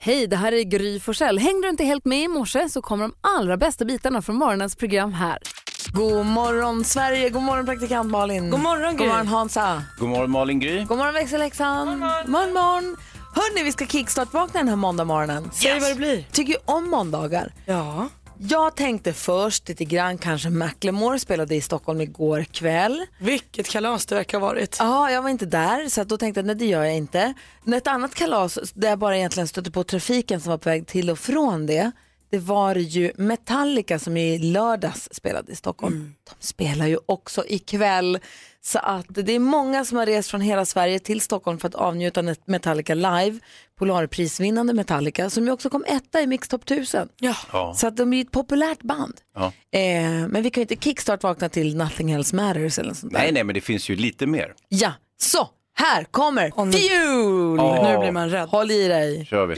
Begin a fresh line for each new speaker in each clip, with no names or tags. Hej, det här är Gry Forssell. Hängde du inte helt med i morse så kommer de allra bästa bitarna från morgonens program här.
God morgon Sverige, god morgon praktikant Malin.
God morgon, Gry.
God morgon Hansa.
God morgon Malin Gry.
God morgon växelhäxan. God morgon. morgon, Hörni, vi ska kickstart-vakna den här måndag morgonen.
Säg vad det blir.
Tycker ju om måndagar.
Ja.
Jag tänkte först lite grann kanske Macklemore spelade i Stockholm igår kväll.
Vilket kalas det verkar ha varit.
Ja, jag var inte där så att då tänkte jag nej det gör jag inte. Men ett annat kalas där jag bara egentligen stötte på trafiken som var på väg till och från det. Det var ju Metallica som i lördags spelade i Stockholm.
Mm.
De spelar ju också ikväll. Så att det är många som har rest från hela Sverige till Stockholm för att avnjuta Metallica live. Polarprisvinnande Metallica som ju också kom etta i Mix Top 1000.
Ja.
Ja.
Så att de är ju ett populärt band.
Ja.
Eh, men vi kan ju inte kickstart vakna till Nothing Else Matters eller något sånt där.
Nej, nej, men det finns ju lite mer.
Ja, så här kommer
nu-
Fuel!
Åh.
Nu blir man rädd.
Håll i dig.
Kör vi.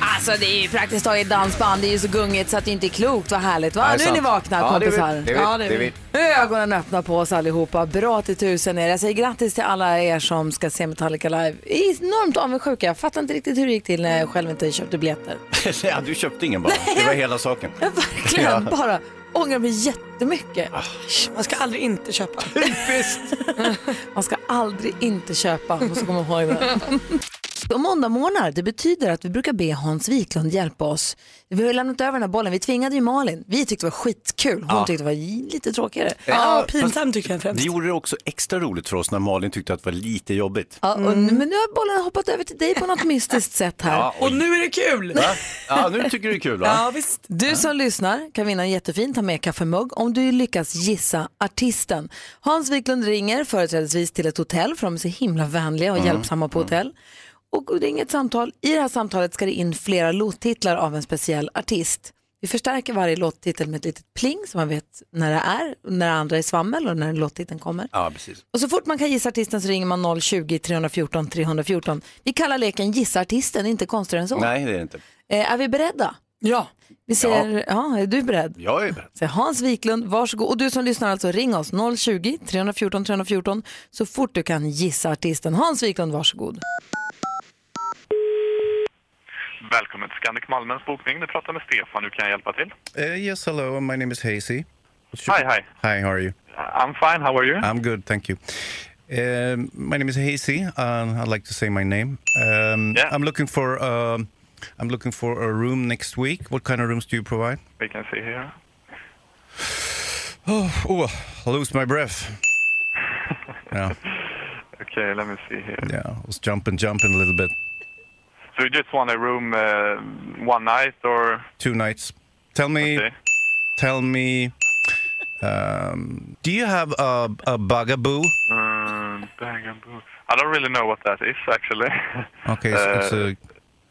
Alltså det är ju praktiskt taget dansband, det är ju så gungigt så att det inte är klokt. Vad härligt va?
Nej,
nu är ni
sant.
vakna
Ja, det är vi.
kompisar.
Det är vi. Det är vi.
Nu är ögonen öppna på oss allihopa. Bra till tusen er. Jag säger grattis till alla er som ska se Metallica live. Jag är enormt avundsjuk. Jag fattar inte riktigt hur det gick till när jag själv inte köpte biljetter.
ja, du köpte ingen bara. Det var hela saken.
Verkligen bara ångrar mig jättemycket.
Ah.
Man ska aldrig inte köpa.
Typiskt.
Man ska aldrig inte köpa. Man ska komma ihåg det. Och måndagmorgnar, det betyder att vi brukar be Hans Wiklund hjälpa oss. Vi har ju lämnat över den här bollen. Vi tvingade ju Malin. Vi tyckte det var skitkul. Hon tyckte det var lite tråkigare.
Ja, pinsam tycker jag
Eh, Det
främst.
gjorde det också extra roligt för oss när Malin tyckte att det var lite jobbigt.
Ja, och nu, men nu har bollen hoppat över till dig på något mystiskt sätt här.
Ja,
Och
och,
nu är det kul.
va? ja, nu tycker du det är kul va?
Ja, visst.
Du som lyssnar kan vinna en jättefin ta med kaffemugg om du lyckas gissa artisten. Hans Wiklund ringer företrädesvis till ett hotell för de är så himla vänliga
Mm.
och hjälpsamma på hotell. Och det är inget samtal. I det här samtalet ska det in flera låttitlar av en speciell artist. Vi förstärker varje låttitel med ett litet pling så man vet när det är, när det andra är svammel och när låttiteln kommer.
Ja, precis.
Och så fort man kan gissa artisten så ringer man 020 314 314. Vi kallar leken Gissa artisten, inte konstigare än så.
Nej, det är det inte.
Eh, är vi beredda?
Ja.
Vi ser, ja. är du beredd?
Jag är beredd.
Så Hans Wiklund, varsågod. Och du som lyssnar alltså, ring oss 020 314 314 så fort du kan gissa artisten. Hans Wiklund, varsågod.
Välkommen till Scandic Malmens bokning. Du pratar med Stefan. Hur kan jag hjälpa till?
Uh, yes, hello. My name is Hazy.
Hi, hi.
Hi, how are you?
I'm fine. How are you?
I'm good, thank you. Um, my name is Hazy, and I'd like to say my name. Um,
Yeah.
I'm looking for um, I'm looking for a room next week. What kind of rooms do you provide?
We can see here.
Oh, I lose my breath. yeah,
Okay, let me see here.
yeah. I was jumping, jumping a little bit.
So you just want a room uh, one night or...
Two nights. Tell me,
Okay.
tell me. Um, do you have a a bugaboo?
Um, bag and boo- I don't really know what that is, actually.
Okay, so it's
Uh,
a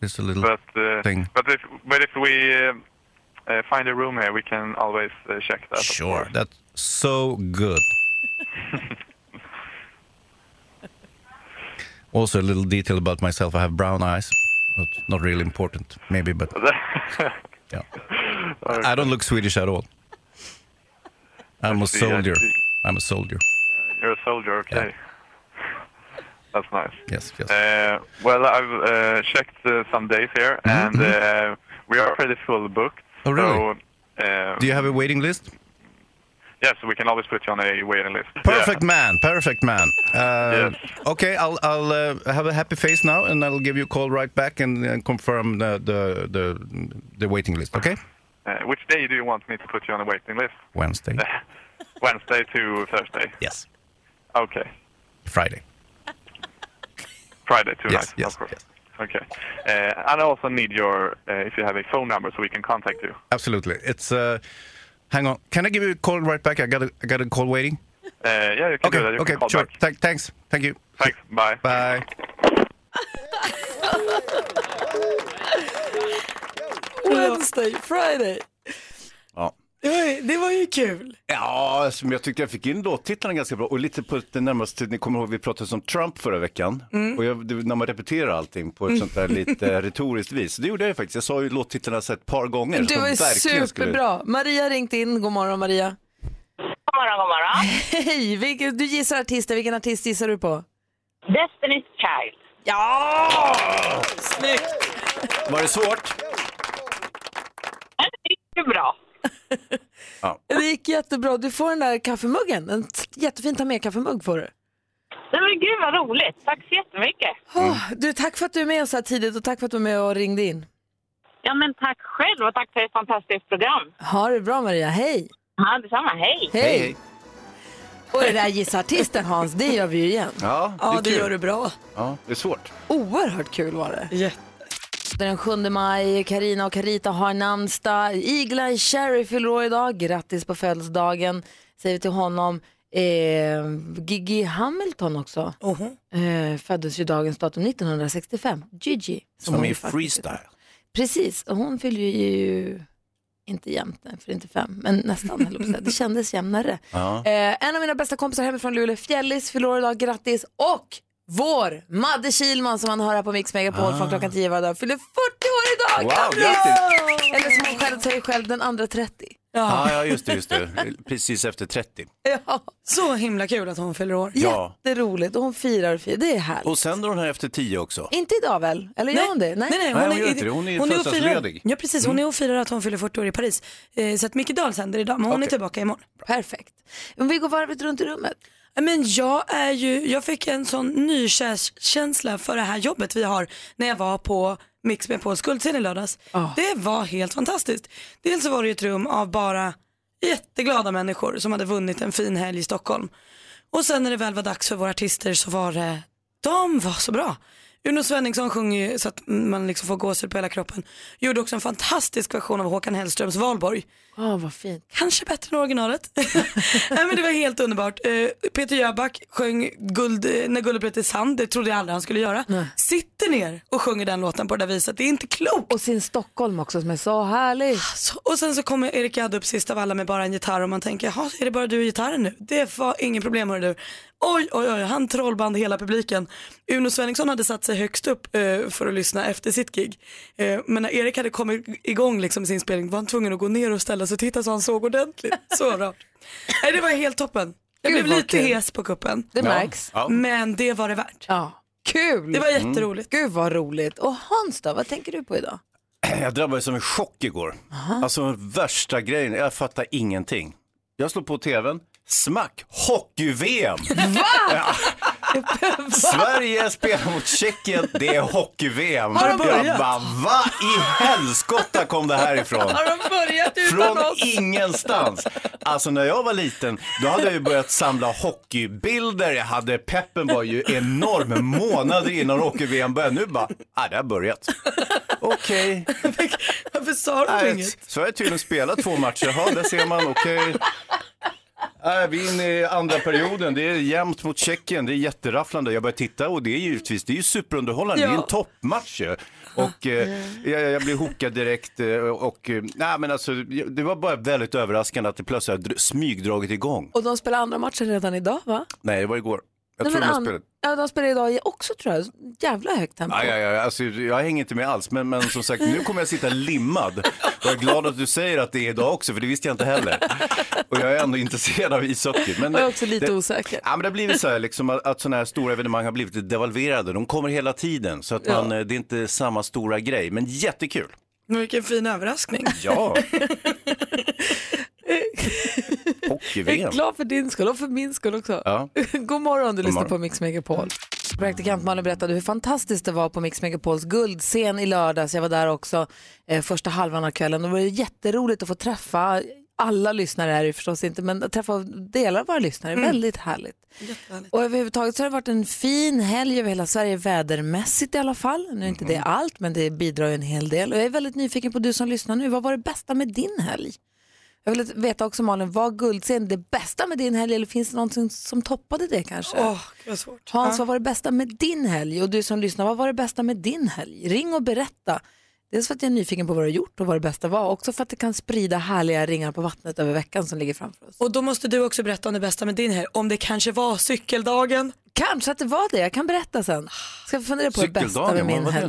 it's a little.
but, uh,
thing.
But if, but if we uh, uh, find a room here, we can always uh, check that. of
Sure,
course.
that's so good. also, a little detail about myself: I have brown eyes. Not, not really important, maybe, but yeah, I don't look Swedish at all. I'm a
see, I
soldier.
see.
I'm a soldier.
You're a soldier, okay. That's nice.
Yes, yes.
Uh, well, I've uh, checked uh, some days here, and uh, we are pretty full booked.
Mm-hmm, Oh, really?
So, uh,
Do you have a waiting list?
Yes, we can always put you on a waiting list.
Perfect man, perfect man. Uh,
Yes.
Okay, I'll I'll uh, have a happy face now, and I'll give you a call right back and uh, confirm the the the, the waiting list. Okay,
Yeah. Uh, which day do you want me to put you on a waiting list?
Wednesday.
Wednesday to Thursday.
yes,
Okay.
Friday.
Friday to
Yes,
night,
yes,
of course.
yes.
Okay. Uh, and I also need your, uh, if you have a phone number, so we can contact you.
Absolutely. It's uh, hang on. Can I give you a call right back? I got a, I got a call waiting.
Uh, yeah, you can
Okay.
do that. You
Okay.
can call
Sure.
back.
Thank- thanks. Thank you.
Thanks. Bye.
Bye.
Wednesday, Friday.
Ja.
Det var ju, det var ju kul.
Ja, som jag tyckte jag fick in låttitlarna ganska bra och lite på den närmaste, ni kommer ihåg vi pratade om Trump förra veckan
Mm.
och jag, det, när man repeterar allting på ett sånt där lite retoriskt vis, det gjorde jag ju faktiskt, jag sa ju låttitlarna så ett par gånger.
Du
så de
är
verkligen skulle-
superbra. Maria har ringt in. God morgon Maria.
God morgon, god morgon.
Hej, vilken, du gissar artister. Vilken artist gissar du på?
Destiny's Child.
Var det svårt?
Det gick ju bra.
Det gick jättebra. Du får den där kaffemuggen. En t- jättefin ta med-kaffemugg får du.
Nej, men gud vad roligt. Tack så jättemycket.
Åh, du, tack för att du är med så här tidigt och tack för att du är med och ringde in.
Ja, men tack själv och tack för ett fantastiskt program.
Ha det bra Maria. Hej!
Ja, detsamma. Hej.
Hej! Och det där gissa artisten Hans, det gör vi ju igen.
Ja, det,
Ja,
är
det
kul.
gör du bra.
Ja, det är svårt.
Oerhört kul var det.
Jätte.
Den 7 maj, Karina och Carita har namnsdag. Igla i Cherry fyller år idag. Grattis på födelsedagen säger vi till honom. Eh, Gigi Hamilton också.
Oho.
Eh, föddes ju dagens datum 1965. Gigi.
Som
hon
i
ju faktiskt heter.
freestyle.
Precis, och hon fyller ju inte jämnt, nej, för inte fem, men nästan. höll jag på att säga. det kändes jämnare.
Ja.
Eh, en av mina bästa kompisar hemifrån Luleå, Fjällis, fyller år idag, grattis. Och vår Madde Kilman som man hör här på Mix Megapol från klockan 10 varje dag, fyller 40 år idag!
Wow,
Grattis!
grattis!
Eller som hon själv säger själv, den andra 30.
Ja, ja, just det, just det. Precis efter 30.
Ja,
Så himla kul att hon fyller år.
Ja.
jätteroligt. Och hon firar, och firar. det är härligt.
Och sen då den här efter 10 också.
Inte idag väl? Eller gör hon det?
Nej, nej,
Nej, hon gör inte det. Hon är
och firar-
födelsedagsledig.
Ja precis, hon är och firar att hon fyller 40 år i Paris. Eh, så att Micke Dahl sänder idag, men hon är tillbaka imorgon.
Perfekt. Men vi går varvet runt i rummet.
Nej, Men jag, är ju, jag fick en sån nykärskänsla för det här jobbet vi har när jag var på Mix med på Skuldscen i lördags. Det var helt fantastiskt. Dels så var det ju ett rum av bara jätteglada människor som hade vunnit en fin helg i Stockholm. Och sen när det väl var dags för våra artister så var det, de var så bra. Uno Svenningsson sjunger ju så att man liksom får gåshud på hela kroppen. Gjorde också en fantastisk version av Håkan Hellströms Valborg.
Ja, vad fint.
Kanske bättre än originalet. Nej, men det var helt underbart. Eh, Peter Jöback sjöng guld, eh, När guldet blev till sand, det trodde jag aldrig han skulle göra. Sitter ner och sjunger den låten på det där viset, det är inte klokt.
Oh, Och sin Stockholm också som är så härlig.
Så, och sen så kommer Erik Gadd upp sist av alla med bara en gitarr och man tänker, jaha är det bara du och gitarren nu? Det var ingen problem hörru du. Oj, oj, oj, han trollband hela publiken. Uno Svenningsson hade satt sig högst upp eh, för att lyssna efter sitt gig. Eh, men när Erik hade kommit igång liksom, med sin spelning var han tvungen att gå ner och ställa sig och titta så han såg ordentligt. Så rart. Nej, det var helt toppen. Jag
Gud,
blev
vad
lite
kul.
hes på kuppen.
Det märks.
Ja.
Men det var det värt.
Ja. Kul! Mm.
Det var jätteroligt.
Gud vad roligt. Och Hans då, vad tänker du på idag?
Jag drabbades av en chock igår. Alltså den värsta grejen, jag fattar ingenting. Jag slår på tvn, smack, hockey-VM! Va? Ja. Sverige spelar mot Tjeckien, det är hockey-VM.
Har de börjat?
Jag bara, va i helskotta kom det här ifrån?
Har de börjat
Från ingenstans. Alltså när jag var liten, då hade jag ju börjat samla hockeybilder. Jag hade, peppen var ju enorm månader innan hockey-VM började. Nu bara, ah, det har börjat. Okej.
Varför sa de
Nej,
inget?
Sverige har tydligen spelat två matcher. Jaha, där ser man. Okej. Nej, vi är inne i andra perioden. Det är jämnt mot Tjeckien. Det är jätterafflande. Jag börjar titta och det är givetvis det är ju superunderhållande. Det är
Ja.
en toppmatch ju. Och eh, jag, jag blir hookad direkt. eh, Och, eh, nej, men alltså, jag- det var bara väldigt överraskande att det plötsligt har dr- smygdragit igång.
Och de spelar andra matchen redan idag va?
Nej, det var igår. Jag
Nej,
tror
men
de har
an-
spelat.
Ja, de spelar idag också tror jag. Jävla högt tempo.
Aj, aj, aj, alltså, jag hänger inte med alls, men, men som sagt, nu kommer jag sitta limmad. Och jag är glad att du säger att det är idag också, för det visste jag inte heller. Och jag är ändå intresserad av ishockey. Men,
Jag är också lite
det,
osäker.
Ja, men det har blivit så här, liksom, att, att sådana här stora evenemang har blivit devalverade. De kommer hela tiden, så att man, eh, det är inte samma stora grej. Men jättekul!
Men Vilken fin överraskning.
Ja. Hockey-VM.
Glad för din skull och för min skull också.
Ja.
God morgon, du lyssnar
morgon.
på Mix Megapol. Praktikant Malin berättade hur fantastiskt det var på Mix Megapols guldscen i lördags. Jag var där också eh, första halvan av kvällen. Det var ju jätteroligt att få träffa alla lyssnare är det ju förstås inte, men att träffa delar av våra lyssnare. Väldigt härligt. Och överhuvudtaget så har det varit en fin helg över hela Sverige, vädermässigt i alla fall. Nu är inte det allt, men det bidrar ju en hel del. Och jag är väldigt nyfiken på du som lyssnar nu. Vad var det bästa med din helg? Jag vill veta också Malin, var guldscen det bästa med din helg eller finns det någonting som toppade det kanske?
Åh, det var svårt.
Hans, vad var det bästa med din helg? Och du som lyssnar, vad var det bästa med din helg? Ring och berätta. Dels för att jag är nyfiken på vad du har gjort och vad det bästa var. Också för att det kan sprida härliga ringar på vattnet över veckan som ligger framför oss.
Och då måste du också berätta om det bästa med din här. Om det kanske var cykeldagen.
Kanske att det var det, jag kan berätta sen. Ska vi fundera på det bästa med
Cykeldagen, vad
min
var det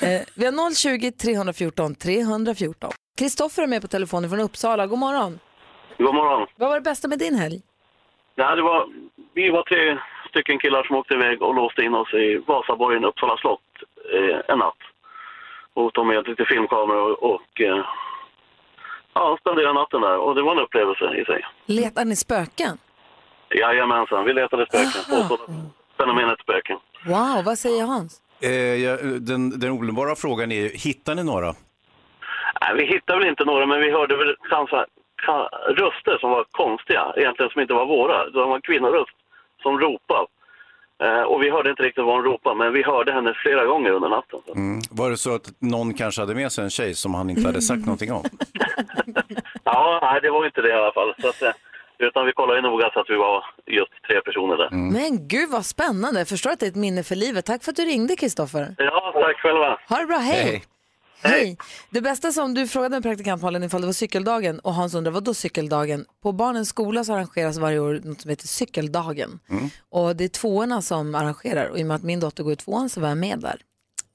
helg.
nu?
Eh, vi har 020 314 314. Kristoffer är med på telefonen från Uppsala. God morgon.
God morgon.
Vad var det bästa med din helg?
Ja, det var, vi var tre stycken killar som åkte iväg och låste in oss i Vasaborgen, Uppsala slott, eh, en natt. Och tog med lite filmkameror och, och eh, ja, spenderade natten där. Och det var en upplevelse i sig.
Letar ni spöken?
Jajamensan, vi letade spöken. Påstådda Fenomenet spöken.
Wow, vad säger Hans?
Eh, jag, den, den omedelbara frågan är, ju, hittar ni några?
Nej, vi hittade väl inte några, men vi hörde väl kanske ka, röster som var konstiga, egentligen som inte var våra. Det var en kvinnoröst som ropade. Eh, och vi hörde inte riktigt vad hon ropade, men vi hörde henne flera gånger under natten.
Mm. Var det så att någon kanske hade med sig en tjej som han inte hade sagt någonting om?
Ja, nej, det var inte det i alla fall. Så att, eh, utan vi kollade ju noga så att vi var just tre personer där.
Men gud vad spännande. Jag förstår att det är ett minne för livet. Tack för att du ringde Kristoffer.
Ja, tack själva.
Ha det bra, hej. hej! Det bästa som du frågade en praktikant Malin ifall det var cykeldagen och Hans undrar vad då cykeldagen? På barnens skola så arrangeras varje år något som heter cykeldagen. Och det är tvåorna som arrangerar och i och med att min dotter går i tvåan så var jag med där.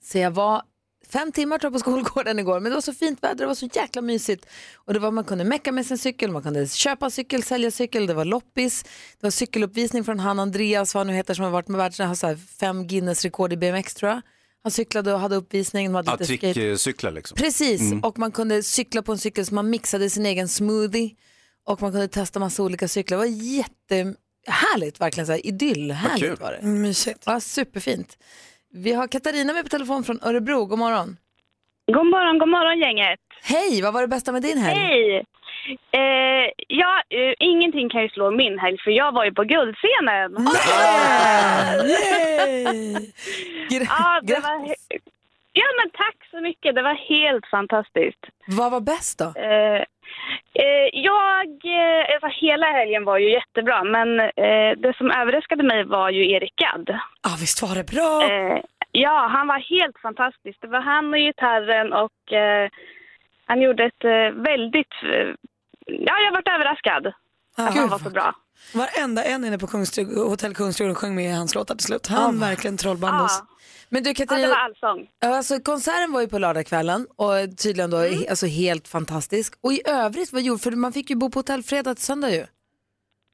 Så jag var fem timmar tror jag, på skolgården igår, men det var så fint väder, det var så jäkla mysigt. Och det var, man kunde mecka med sin cykel, man kunde köpa cykel, sälja cykel, det var loppis, det var cykeluppvisning från han Andreas, vad han nu heter, som har varit med världs, han har så här fem Guinness-rekord i BMX tror jag. Han cyklade och hade uppvisning, de hade
Ja,
lite skate.
trickcyklar liksom.
Precis, och man kunde cykla på en cykel så man mixade sin egen smoothie och man kunde testa massa olika cyklar. Det var jättehärligt, verkligen så här
kul.
idyllhärligt var det.
Mysigt.
Ja, superfint. Vi har Katarina med på telefon från Örebro, god morgon.
God morgon, god morgon gänget.
Hej, vad var det bästa med din helg?
Hej! Eh, ja, eh, ingenting kan ju slå min helg för jag var ju på guldscenen.
Yay!
Gr-
Ja, det
grattis.
var he- ja, men tack så mycket. Det var helt fantastiskt.
Vad var bäst då?
Eh, eh, jag, eh, alltså hela helgen var ju jättebra, men eh, det som överraskade mig var ju Erik Gadd.
ah, visst var det bra?
Eh, ja, han var helt fantastisk. Det var han och gitarren och eh, han gjorde ett eh, väldigt... Eh, ja, jag varit överraskad att han
Ah,
var så bra.
varenda en inne på Kungsträdgården, Hotell Kungsträdgården sjöng med i hans låtar till slut. Han verkligen trollband
Ja,
oss.
Men du
ja, det
Katarina,
var allsång.
alltså, konserten var ju på lördagskvällen och tydligen då
Mm.
he- alltså, helt fantastisk. Och i övrigt, vad gjorde För man fick ju bo på hotell fredag till söndag ju.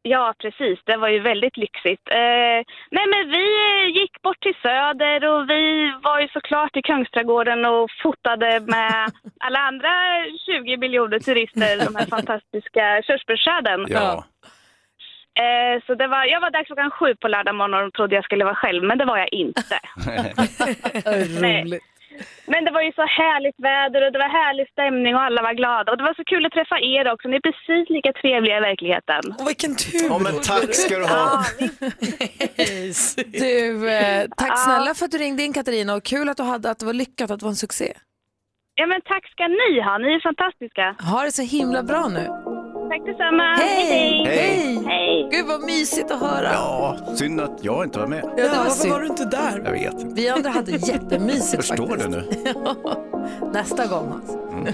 Ja, precis. Det var ju väldigt lyxigt. Eh, nej, men vi eh, gick bort till Söder och vi var ju såklart i Kungsträdgården och fotade med alla andra 20 miljoner turister de här fantastiska körsbärsträden.
Ja.
Eh, så det var, jag var där klockan sju på lördag morgon och trodde jag skulle vara själv, men det var jag inte.
Roligt.
Men det var ju så härligt väder och det var härlig stämning och alla var glada. Och det var så kul att träffa er också. Ni är precis lika trevliga i verkligheten.
Och vilken tur!
ja, men tack ska du ha.
Du, eh, tack snälla för att du ringde in Katarina och kul att du hade att det var lyckat att det var en succé.
Ja, men tack ska ni ha. Ni är fantastiska.
Ha det så himla bra nu.
Tack detsamma.
Hej.
Hej.
Gud vad mysigt att höra.
Ja, synd att jag inte var med.
Ja,
Ja,
det var
varför var
synd.
du inte där?
Jag vet inte.
Vi andra hade jättemysigt
Jag förstår det
faktiskt.
nu.
Nästa gång Hans.
Mm.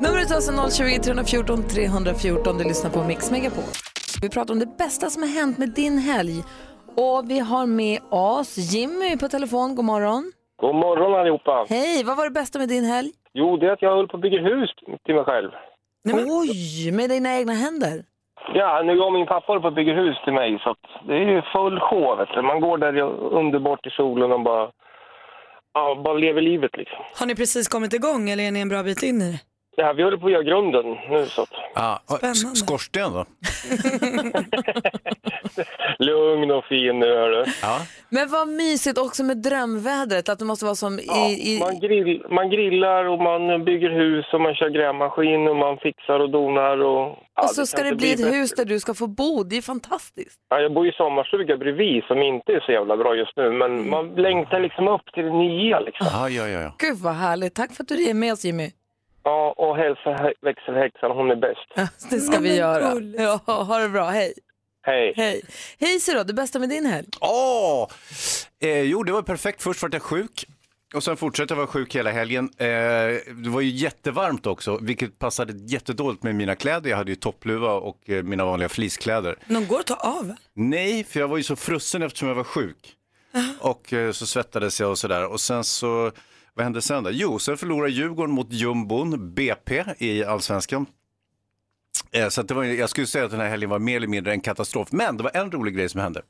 Numret är alltså 020 314 314. Du lyssnar på Mix Megapol. Vi pratar om det bästa som har hänt med din helg. Och vi har med oss Jimmy på telefon. God morgon.
God morgon allihopa!
Hej, vad var det bästa med din helg?
Jo, det är att jag höll på att bygga hus till mig själv.
Oj, med dina egna händer.
Ja, nu jag och min pappa håller på att bygga hus till mig så att det är ju full show vet du. Man går där i- underbart i solen och bara, ja, bara lever livet liksom.
Har ni precis kommit igång eller är ni en bra bit in i det?
Ja, vi håller på att göra grunden nu så att
Ja, och
Spännande.
Skorsten då?
lugn och fin nu hörru.
Men vad mysigt också med drömvädret, att det måste vara som
Ja,
i... i...
man, grill, man grillar och man bygger hus och man kör grävmaskin och man fixar och donar och... Ja,
Och så ska
kan
det
inte
bli ett
bättre.
hus där du ska få bo, det är fantastiskt.
Ja, jag bor i sommarstuga bredvid som inte är så jävla bra just nu men man längtar liksom upp till det nya liksom.
Mm. Ja, ja, ja. ja.
Gud vad härligt, tack för att du är med oss Jimmy.
Ja, och hälsa hä- växelhäxan, hon är bäst.
Det ska vi
men
göra.
gulligt.
Ja, ha det bra, hej.
Hej.
Hej. Hej då, det bästa med din helg?
Åh! Eh, jo, det var perfekt. Först var jag sjuk och sen fortsatte jag vara sjuk hela helgen. Eh, det var ju jättevarmt också, vilket passade jättedåligt med mina kläder. Jag hade ju toppluva och eh, mina vanliga fleecekläder.
De går att ta av väl?
Nej, för jag var ju så frusen eftersom jag var sjuk. Och eh, så svettades jag och sådär. Och sen så, vad hände sen då? Jo, sen förlorade Djurgården mot jumbon BP i allsvenskan. Eh, Så att det var, ju- jag skulle säga att den här helgen var mer eller mindre en katastrof. Men det var en rolig grej som hände.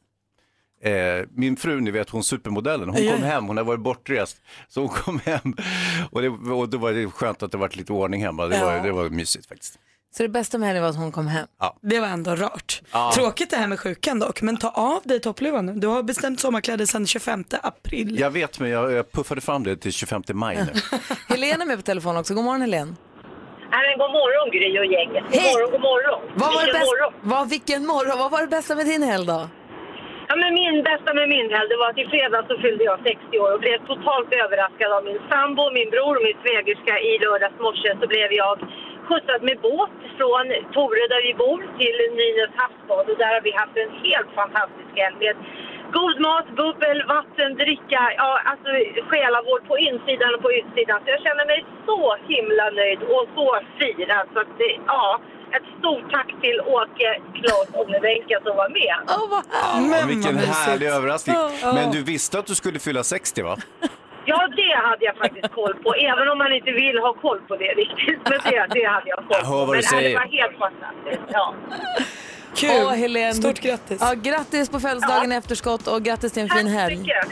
Eh, min fru, ni vet hon supermodellen, hon kom hem, hon har varit bortrest. Så hon kom hem och, det, och då var det skönt att det var lite ordning hemma. Det var, det var mysigt faktiskt.
Så det bästa med helgen var att hon kom hem.
Det var ändå rart. Tråkigt det här med sjukan dock, men ta av dig toppluvan nu. Du har bestämt sommarkläder sedan 25 april.
Jag vet men jag, jag puffade fram det till 25 maj nu.
Helena är med på telefon också. God morgon Helen.
Nej, men god morgon Gry och gänget. God
Hej.
morgon, god morgon.
Vad var det
Vilken morgon.
bästa? Vad, vilken morgon. Vad var det bästa med din helg då?
Ja, men min bästa med min helg det var att i fredags så fyllde jag 60 år och blev totalt överraskad av min sambo, min bror och min svägerska. I lördags morse så blev jag skjutsad med båt från Torö där vi bor till Nynäs havsbad och där har vi haft en helt fantastisk helg med god mat, bubbel, vatten, dricka, ja alltså själavård på insidan och på utsidan. Så jag känner mig så himla nöjd och så firad så att det, ja, ett stort tack till Åke, Claes och Nevenka som var med.
Åh, vad härligt.
Ja, vilken härlig överraskning.
Ja.
Men du visste att du skulle fylla 60 va?
Ja, det hade jag faktiskt koll på, även om man inte vill ha koll på det riktigt. Men det, det hade jag koll på.
Jag hör vad du
Men
säger.
det var helt fantastiskt. Ja.
Kul!
Åh, Helen.
Stort grattis!
Ja, grattis på födelsedagen i efterskott och grattis till en
Tack
fin
så
helg.
mycket.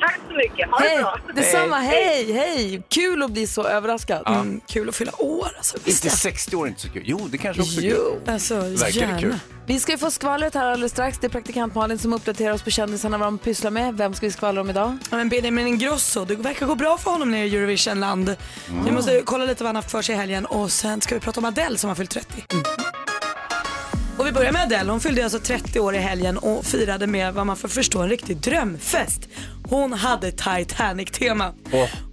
Tack så mycket. Ha det
Hej,
bra.
detsamma. Hej, hej. Kul att bli så överraskad.
Mm, kul att fylla år alltså. Visst.
Inte 60 år är inte så kul. Jo, det kanske också är kul.
Jo.
Alltså,
Verkar det kul.
gärna.
Vi ska ju få skvallret här alldeles strax. Det är praktikant Malin som uppdaterar oss på kändisarna, vad de pysslar med. Vem ska vi skvallra om idag?
Ja, men Benjamin Ingrosso, det verkar gå bra för honom nere i Eurovisionland. Vi måste kolla lite vad han har haft för sig i helgen och sen ska vi prata om Adele som har fyllt 30. Och vi börjar med Adele. Hon fyllde alltså 30 år i helgen och firade med vad man får förstå en riktig drömfest. Hon hade Titanic-tema.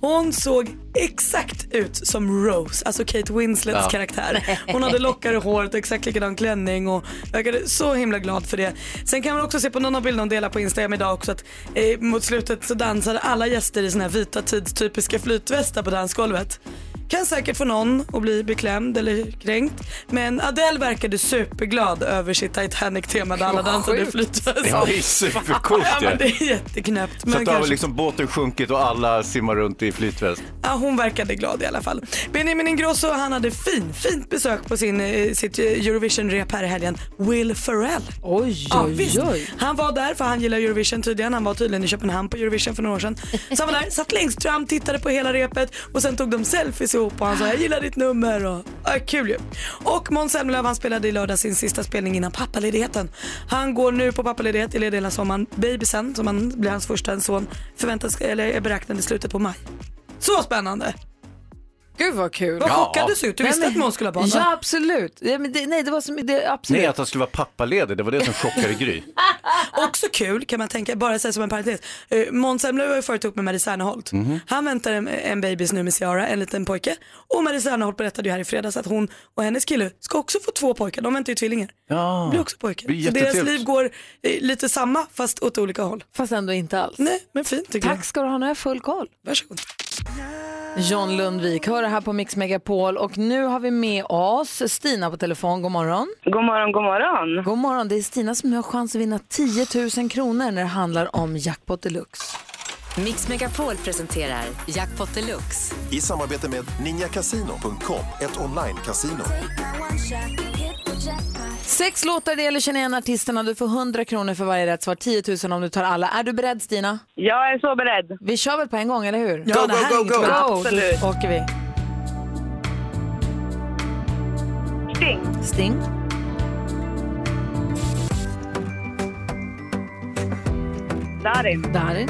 Hon såg exakt ut som Rose, alltså Kate Winslets karaktär. Hon hade lockar i håret och exakt likadan klänning och verkade så himla glad för det. Sen kan man också se på någon av bilderna hon delar på Instagram idag också att eh, mot slutet så dansade alla gäster i såna här vita tidstypiska flytvästar på dansgolvet. Kan säkert få någon att bli beklämd eller kränkt. Men Adele verkade superglad över sitt Titanic-tema där alla dansade i flytväst.
Ja, det är supercoolt
Ja, men det
det.
är jätteknäppt.
Så
Men
att då har
kanske...
väl liksom båten sjunkit och alla simmar runt i flytväst.
ja, hon verkade glad i alla fall. Benjamin Ingrosso han hade fin, fint besök på sin, eh, sitt eh, Eurovision-rep här i helgen. Will Ferrell.
Oj,
Ja, visst. Han var där för han gillar Eurovision tydligen. Han var tydligen i Köpenhamn på Eurovision för några år sedan. Så han var där, satt längst fram, tittade på hela repet och sen tog de selfies ihop och han sa jag gillar ditt nummer och ja, kul ju. Och Måns Zelmerlöw han spelade i lördag sin sista spelning innan pappaledigheten. Han går nu på pappaledighet i ledig hela sommaren. Babysen som han blir hans första son förväntas eller är beräknad i slutet på maj. Så spännande!
Gud vad kul.
Vad
Ja.
chockad du såg ut. Du
Nej,
visste
men-
att Måns skulle ha barn va?
Ja, absolut. Ja, men det, nej, det var som, det, absolut.
Nej, att han skulle vara pappaledig, det var det som chockade Gry.
Också kul kan man tänka, bara säga som en parentes. Eh, Måns Zelmerlöw har ju förut ihop med Marie Serneholt.
Mm.
Han väntar en, en babys nu med Ciara, en liten pojke. Och Marie Serneholt berättade ju här i fredags att hon och hennes kille ska också få två pojkar. De väntar ju tvillingar.
Ja.
Blir också pojkar.
Det är
Så deras
jättetrevligt.
liv går eh, lite samma fast åt olika håll.
Fast ändå inte alls.
Nej men fint tycker
Tack ska du ha, nu har jag full koll.
jag. Varsågod.
John Lundvik hör det här på Mix Megapol och nu har vi med oss Stina på telefon. God morgon.
God morgon, god morgon.
God morgon, det är Stina som har chans att vinna 10 000 kronor när det handlar om Jackpot Deluxe.
Mix Megapol presenterar Jackpot Deluxe.
I samarbete med ninjakasino.com, ett online-casino.
Sex låtar, det gäller känna igen artisterna. Du får 100 kronor för varje rätt svar, 10 000 om du tar alla. Är du beredd Stina?
Jag är så beredd.
Vi kör väl på en gång, eller hur?
Ja, det här är inget bra.
Go,
Absolut.
då åker vi.
Sting,
Sting,
Darin,
Darin,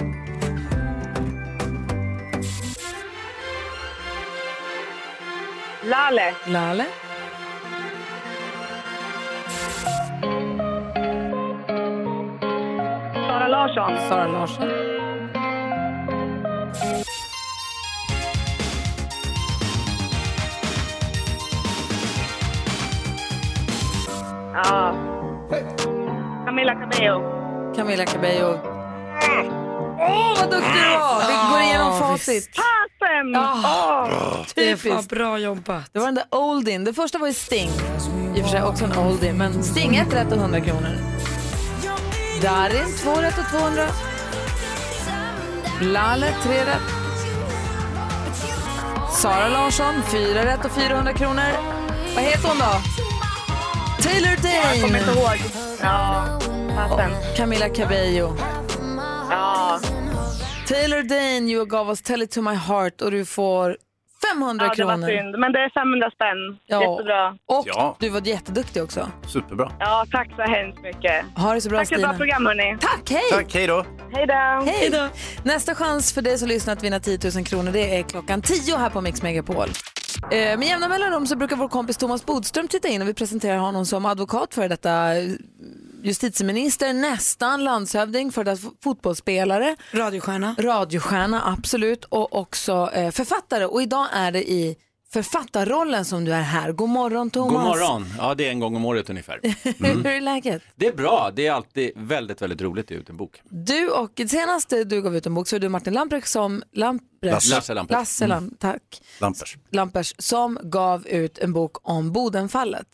Lale,
Lale,
Sara Larsson,
Sara Larsson,
Cabello.
Camila Cabello. Åh, vad duktig du var! Vi går igenom facit.
Fasen!
Ah,
Det är fan
typiskt.
bra jobbat.
Det var den där oldien. Det första var ju Sting. I och för sig också en oldie, men Sting ett rätt och 100 kronor. Darin två rätt och 200. Lalle tre rätt. Sara Larsson fyra rätt och 400 kronor. Vad heter hon då? Taylor Dane.
Jag kommer inte ihåg. Ja, fasen.
Camila Cabello.
Ja.
Taylor Dane you gav oss Tell it to my heart och du får 500
ja, det
kronor.
var synd. Men det är 500 spänn.
Ja.
Jättebra.
Och
Ja.
du var jätteduktig också.
Superbra.
Ja, tack så hemskt mycket.
Ha det så bra
Tack för ett bra
Stina.
program hörni.
Tack, hej!
Tack, hej då.
Hej då.
Hej då! Nästa chans för dig som lyssnar att vinna 10 000 kronor det är klockan 10 här på Mix Megapol. Eh, Med jämna mellanrum så brukar vår kompis Thomas Bodström titta in och vi presenterar honom som advokat för detta eh, justitieminister, nästan landshövding, för detta fotbollsspelare.
Radiostjärna.
Radiostjärna, absolut. Och också eh, författare. Och idag är det i författarrollen som du är här. God morgon Thomas!
God morgon! Mm. Ja, det är en gång om året ungefär.
Hur är läget?
Det är bra, det är alltid väldigt, väldigt roligt att ge ut en bok.
Du och senast du gav ut en bok så är du Martin Lamprecht som Lamprecht,
Lasse. Lasse Lamprecht. Mm.
Lasse Lam- tack.
Lampers.
Lampers som gav ut en bok om Bodenfallet.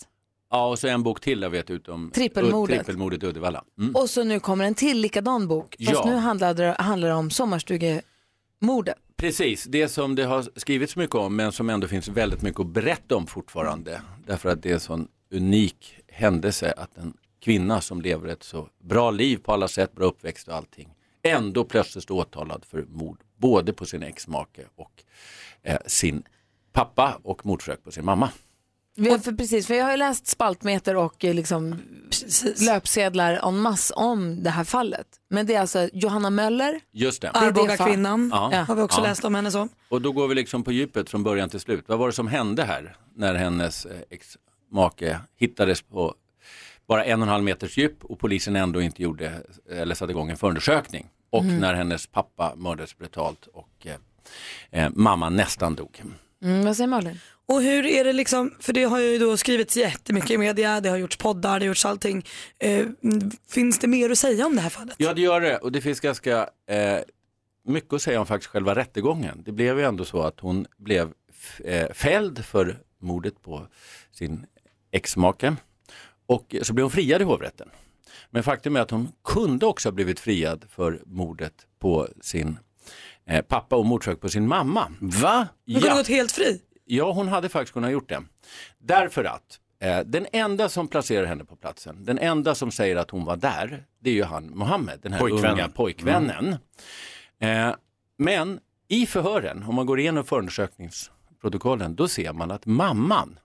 Ja, och så en bok till har vi gett ut om
Trippelmordet.
Ud- trippelmordet i Uddevalla. Mm.
Och så nu kommer en till likadan bok. Fast
Ja.
nu handlar det, handlar det om sommarstugemordet.
Precis, det som det har skrivits mycket om men som ändå finns väldigt mycket att berätta om fortfarande. Därför att det är en sån unik händelse att en kvinna som lever ett så bra liv på alla sätt, bra uppväxt och allting, ändå plötsligt står åtalad för mord både på sin exmake och eh, sin pappa och mordförsök på sin mamma.
Vi har, för, precis, för jag har ju läst spaltmeter och eh, liksom löpsedlar en masse om det här fallet. Men det är alltså Johanna Möller.
Just det.
Det är Arboga det fall- kvinnan
har vi också läst om henne som.
Och då går vi liksom på djupet från början till slut. Vad var det som hände här när hennes eh, ex-make hittades på bara en och en halv meters djup och polisen ändå inte gjorde eh, eller satte igång en förundersökning. Och
Mhm.
när hennes pappa mördades brutalt och eh, eh, mamma nästan dog.
Mm, vad säger Malin?
Och hur är det liksom, för det har ju då skrivits jättemycket i media, det har gjorts poddar, det har gjorts allting. Eh, finns det mer att säga om det här fallet?
Ja det gör det och det finns ganska eh, mycket att säga om faktiskt själva rättegången. Det blev ju ändå så att hon blev f- eh, fälld för mordet på sin exmake och så blev hon friad i hovrätten. Men faktum är att hon kunde också ha blivit friad för mordet på sin eh, pappa och mordförsök på sin mamma. Va?
Hon kunde gått helt fri.
Ja, hon hade faktiskt kunnat gjort det. Därför att eh, den enda som placerar henne på platsen, den enda som säger att hon var där, det är ju han Mohammed, den här
Pojkvännen.
unga pojkvännen. Eh, men i förhören, om man går igenom förundersökningsprotokollen, då ser man att mamman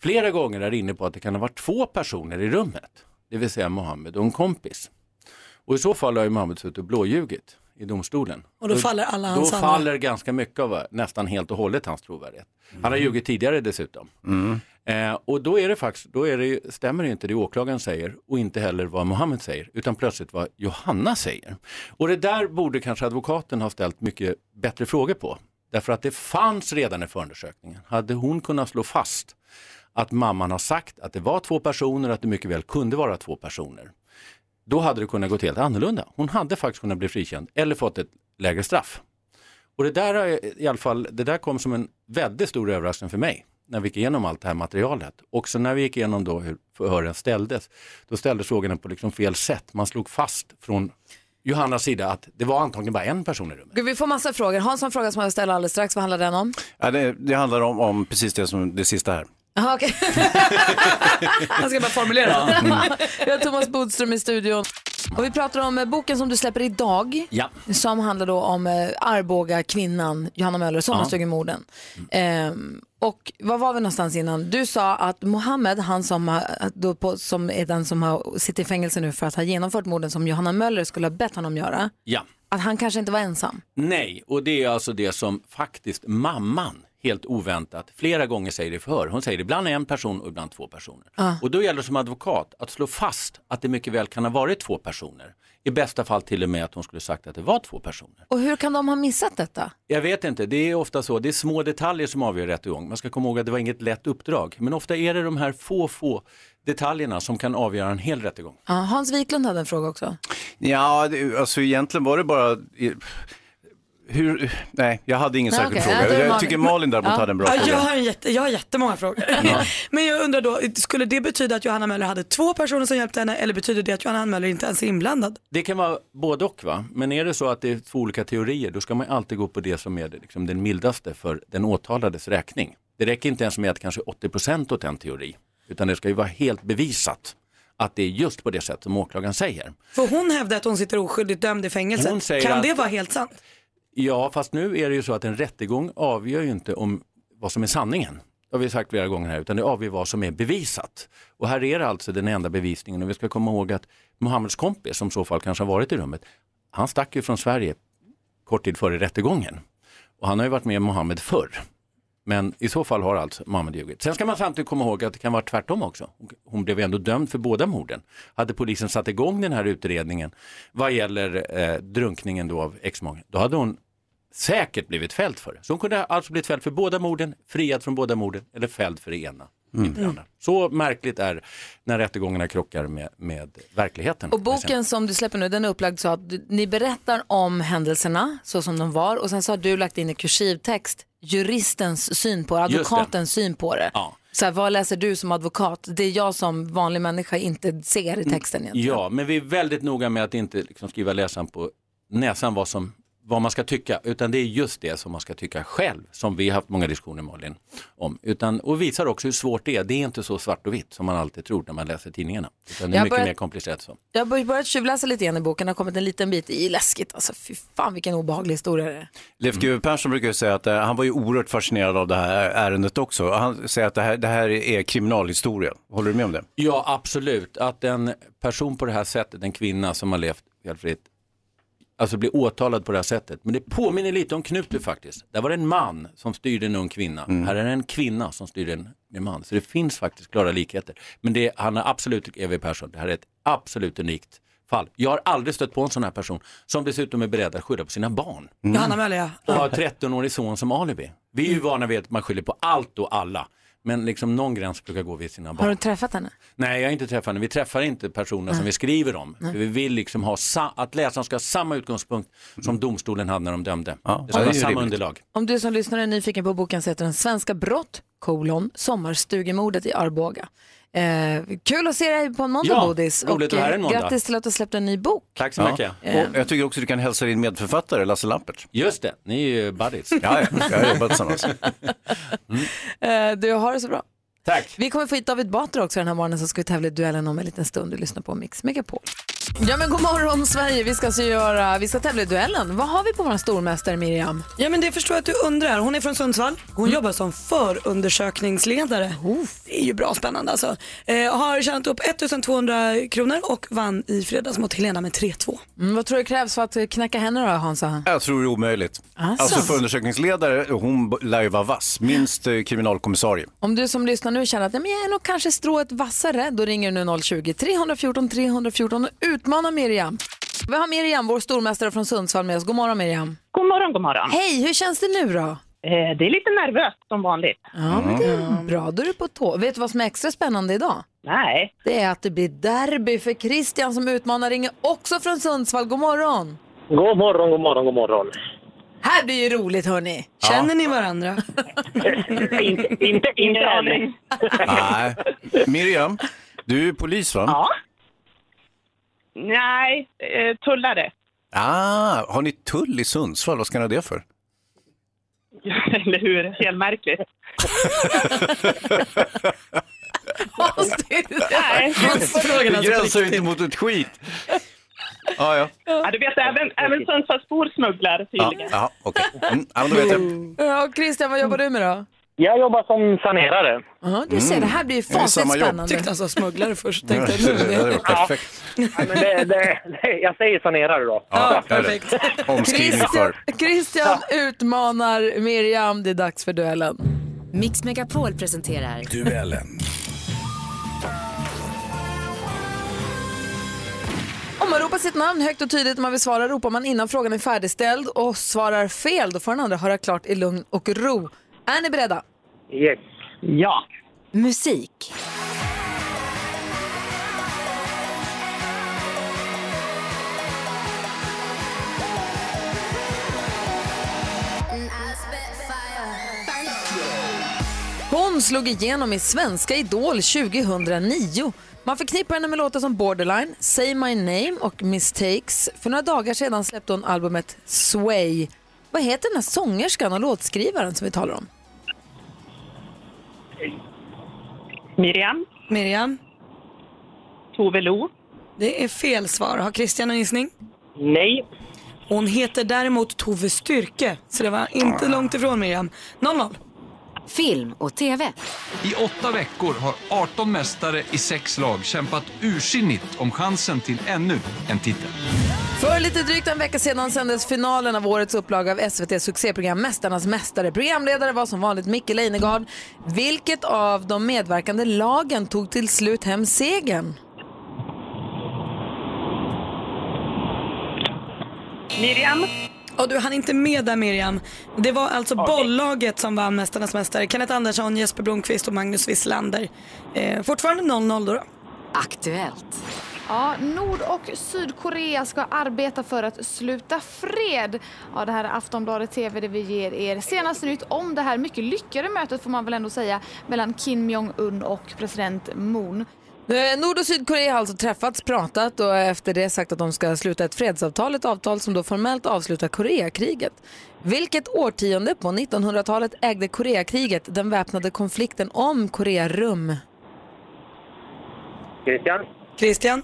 flera gånger är inne på att det kan ha varit två personer i rummet, det vill säga Mohammed och en kompis. Och i så fall har ju Mohammed suttit och blåljugit i domstolen.
Och då faller alla hans
Då
andra-
faller ganska mycket av, nästan helt och hållet hans trovärdighet. Han har ljugit tidigare dessutom.
Mm.
Eh, och då är det faktiskt, då är det, ju- stämmer det inte det åklagaren säger och inte heller vad Mohammed säger, utan plötsligt vad Johanna säger. Och det där borde kanske advokaten ha ställt mycket bättre frågor på. Därför att det fanns redan i förundersökningen. Hade hon kunnat slå fast att mamman har sagt att det var två personer, att det mycket väl kunde vara två personer. Då hade det kunnat gått helt annorlunda. Hon hade faktiskt kunnat bli frikänd eller fått ett lägre straff. Och det där, är, i alla fall, det där kom som en väldigt stor överraskning för mig när vi gick igenom allt det här materialet. Också när vi gick igenom då hur förhören ställdes, då ställdes frågorna på liksom fel sätt. Man slog fast från Johannas sida att det var antagligen bara en person i rummet.
Gud, vi får massa frågor. Hans har en fråga som jag vill ställa alldeles strax. Vad handlar den om?
Ja, det, det handlar om, om precis det som det sista här.
Aha, okej.
Han ska bara formulera.
Vi har Thomas Bodström i studion. Och vi pratar om eh, boken som du släpper idag.
Ja.
Som handlar då om eh, Arboga kvinnan Johanna Möller, sommarstugemorden. Ehm, och vad var vi någonstans innan? Du sa att Mohammed, han som, har- då på, som är den som har, sitter i fängelse nu för att ha genomfört morden som Johanna Möller skulle ha bett honom göra,
Ja.
att han kanske inte var ensam.
Nej, och det är alltså det som faktiskt mamman helt oväntat flera gånger säger i förhör. Hon säger ibland en person och ibland två personer.
Ah.
Och då gäller det som advokat att slå fast att det mycket väl kan ha varit två personer. I bästa fall till och med att hon skulle sagt att det var två personer.
Och hur kan de ha missat detta?
Jag vet inte, det är ofta så. Det är små detaljer som avgör rättegång. Man ska komma ihåg att det var inget lätt uppdrag. Men ofta är det de här få, få detaljerna som kan avgöra en hel rättegång.
Ja, Hans Wiklund hade en fråga också.
Ja, det, alltså egentligen var det bara... Hur, nej, jag hade ingen
Nej,
särskild
okej. Ja,
fråga.
det är
jag
Malin.
tycker Malin däremot hade en bra
ja,
fråga.
Jag har, en jätte, jag har jättemånga frågor. Men jag undrar då, skulle det betyda att Johanna Möller hade två personer som hjälpte henne eller betyder det att Johanna Möller inte ens är inblandad?
Det kan vara både och va? Men är det så att det är två olika teorier då ska man alltid gå på det som är det, liksom, den mildaste för den åtalades räkning. Det räcker inte ens med att kanske 80% åt en teori utan det ska ju vara helt bevisat att det är just på det sätt som åklagaren säger.
För hon hävdar att hon sitter oskyldigt dömd i
Hon
fängelset.
säger
Kan
att-
det vara helt sant?
Ja, fast nu är det ju så att en rättegång avgör ju inte om vad som är sanningen. Det har vi sagt flera gånger här, utan det avgör vad som är bevisat. Och här är det alltså den enda bevisningen och vi ska komma ihåg att Mohammeds kompis, som i så fall kanske har varit i rummet, han stack ju från Sverige kort tid före rättegången. Och han har ju varit med Mohammed förr. Men i så fall har alltså Mohammed ljugit. Sen ska man samtidigt komma ihåg att det kan vara tvärtom också. Hon blev ju ändå dömd för båda morden. Hade polisen satt igång den här utredningen vad gäller eh, drunkningen då av exmaken, då hade hon säkert blivit fälld för det. Så hon kunde alltså blivit fälld för båda morden, friad från båda morden eller fälld för det ena. Inte det andra. Så märkligt är när rättegångarna krockar med, med verkligheten.
Och boken som du släpper nu, den är upplagd så att du, ni berättar om händelserna så som de var och sen så har du lagt in i kursivtext juristens syn på det,
Just det.
advokatens syn på det.
Ja.
Så här, vad läser du som advokat? Det är jag som vanlig människa inte ser i
Mm.
texten egentligen.
Ja, men vi är väldigt noga med att inte liksom skriva läsaren på näsan vad, som, vad man ska tycka, utan det är just det som man ska tycka själv, som vi har haft många diskussioner Malin om. Utan, och visar också hur svårt det är, det är inte så svart och vitt som man alltid tror när man läser tidningarna. Utan det är
Jag
mycket
börjar-
mer komplicerat så.
Jag har börjat tjuvläsa lite grann i boken, det har kommit en liten bit i läskigt. Alltså fy fan vilken obehaglig historia det är.
Leif GW Persson brukar ju säga att eh, han var ju oerhört fascinerad av det här ärendet också. Han säger att det här, det här är kriminalhistoria. Håller du med om det?
Ja, absolut. Att en person på det här sättet, en kvinna som har levt helt fritt, alltså blir åtalad på det här sättet. Men det påminner lite om Knutby faktiskt. Där var det en man som styrde en ung kvinna. Här är det en kvinna som styrde en, en man. Så det finns faktiskt klara likheter. Men det, han har absolut, E.V. Persson, det här är ett absolut unikt fall. Jag har aldrig stött på en sån här person som dessutom är beredd att skylla på sina barn.
Mm.
Johanna Möller ja.
Och har 13-årig son som alibi. Vi är ju vana vid att man skyller på allt och alla. Men liksom någon gräns brukar gå vid sina barn.
Har du träffat henne?
Nej, jag har inte träffat henne. Vi träffar inte personer som vi skriver om.
Nej.
För vi vill liksom ha sa- att läsaren ska ha samma utgångspunkt som domstolen hade när de dömde. Det
Ja,
ska
det är
vara
ju
samma
rimligt.
underlag.
Om du som lyssnar är nyfiken på boken så heter den Svenska brott, kolon, sommarstugemordet i Arboga. Eh, kul att se dig på en måndag
Ja,
Bodis. eh,
roligt att vara här en måndag.
Grattis till att du har släppt en ny bok.
Tack
så mycket.
Och jag tycker också du kan hälsa din medförfattare Lasse Lampert.
Just det, ni är ju buddies.
ja, ja, jag har jobbat tillsammans.
Eh, du har det så bra.
Tack.
Vi kommer få hit David Batra också den här morgonen som ska vi tävla i duellen om en liten stund. Du lyssnar på Mix Megapol. Ja men god morgon Sverige, vi ska, alltså göra, vi ska tävla i duellen. Vad har vi på vår stormästare Miriam?
Ja men det förstår jag att du undrar. Hon är från Sundsvall. Hon
Mm.
jobbar som förundersökningsledare. Det är ju bra spännande alltså. Eh, har tjänat upp 1200 kronor och vann i fredags mot Helena med 3-2.
Mm, vad tror du krävs för att knäcka henne då Hansa?
Jag tror det är omöjligt.
Alltså.
Alltså, förundersökningsledare, hon b- lär ju vara vass. Minst eh, kriminalkommissarie.
Om du som lyssnar nu känner att "Nej, men jag är nog kanske strået vassare, då ringer du nu 020-314 314 och utmanar Miriam. Vi har Miriam, vår stormästare från Sundsvall med oss. God morgon Miriam.
God morgon, god morgon.
Hej, hur känns det nu då?
Eh, det är lite nervöst som vanligt.
Ja, men det är
Mm.
bra. Då är du på tå. Vet du vad som är extra spännande idag?
Nej.
Det är att det blir derby för Christian som utmanar ringer också från Sundsvall. God morgon!
God morgon, god morgon, god morgon.
Här blir ju roligt hörni.
Känner ni varandra?
inte inte,
Ingen
inte
aning.
än.
Nej. Miriam, du är polis va?
Ja. Nej, eh, tullare.
Ah, har ni tull i Sundsvall? Vad ska ni ha det för?
Eller hur? Helt märkligt. Nej.
Det
alltså
gränsar ju inte alltså mot ett skit. Ah, ja,
Ja, du vet, även, även Sundsvallsbor smugglar
ja.
tydligen.
Ja, okej. Mm, ja, men då vet jag.
Ja, Christian, vad jobbar du med då?
Jag jobbar som sanerare.
Ja, du ser, det här blir ju
Mm. Det är ju
fasligt
samma jobb.
spännande.
Tyckte
han sa smugglare först.
tänkte jag nu.
det var perfekt.
Nej, men det, det, det, jag säger sanerare då.
Ja, perfekt. Omskrivning
Christian,
för.
Christian utmanar Miriam. Det är dags för duellen.
Mix Megapol presenterar
Duellen.
Om får ropa sitt namn högt och tydligt om man vill svara. Ropar man innan frågan är färdigställd och svarar fel, då får den andra höra klart i lugn och ro. Är ni beredda?
Yes. Ja.
Musik.
Hon slog igenom i Svenska Idol 2009. Man förknippar henne med låtar som Borderline, Say My Name och Mistakes. För några dagar sedan släppte hon albumet Sway. Vad heter den här sångerskan och låtskrivaren som vi talar om?
Miriam.
Miriam.
Tove Lo.
Det är fel svar. Har Christian en gissning?
Nej.
Hon heter däremot Tove Styrke, så det var inte långt ifrån Miriam. 0-0.
Film och TV.
I åtta veckor har 18 mästare i sex lag kämpat ursinnigt om chansen till ännu en titel.
För lite drygt en vecka sedan sändes finalen av årets upplaga av SVTs succéprogram Mästarnas mästare. Programledare var som vanligt Micke Leijnegard. Vilket av de medverkande lagen tog till slut hem segern?
Miriam. Och du hann inte med där Miriam. Det var alltså bolllaget som vann Mästarnas Mästare. Kenneth Andersson, Jesper Blomqvist och Magnus Wisslander. Eh, fortfarande 0-0 då. då.
Aktuellt.
Ja, Nord och Sydkorea ska arbeta för att sluta fred. Ja, det här är Aftonbladet TV där vi ger er senaste nytt om det här mycket lyckade mötet får man väl ändå säga mellan Kim Jong-Un och president Moon.
Eh, Nord och Sydkorea har alltså träffats, pratat och efter det sagt att de ska sluta ett fredsavtal, ett avtal som då formellt avslutar Koreakriget. Vilket årtionde på 1900-talet ägde Koreakriget den väpnade konflikten om Korearum?
Christian?
Christian?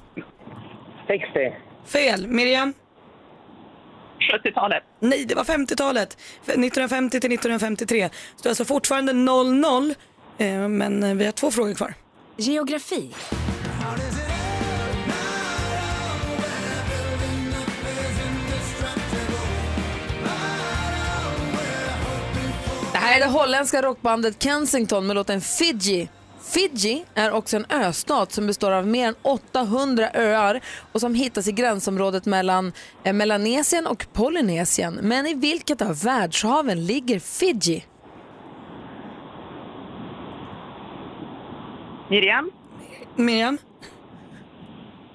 60.
Fel. Miriam? 70-talet. Nej, det var 50-talet. F- 1950 till 1953. Så det är alltså fortfarande 0-0. Eh, Men eh, vi har två frågor kvar.
Geografi.
Det här är det holländska rockbandet Kensington med låten Fiji. Fiji är också en östat som består av mer än 800 öar och som hittas i gränsområdet mellan eh, Melanesien och Polynesien. Men i vilket av världshaven ligger Fiji?
Miriam.
Miriam.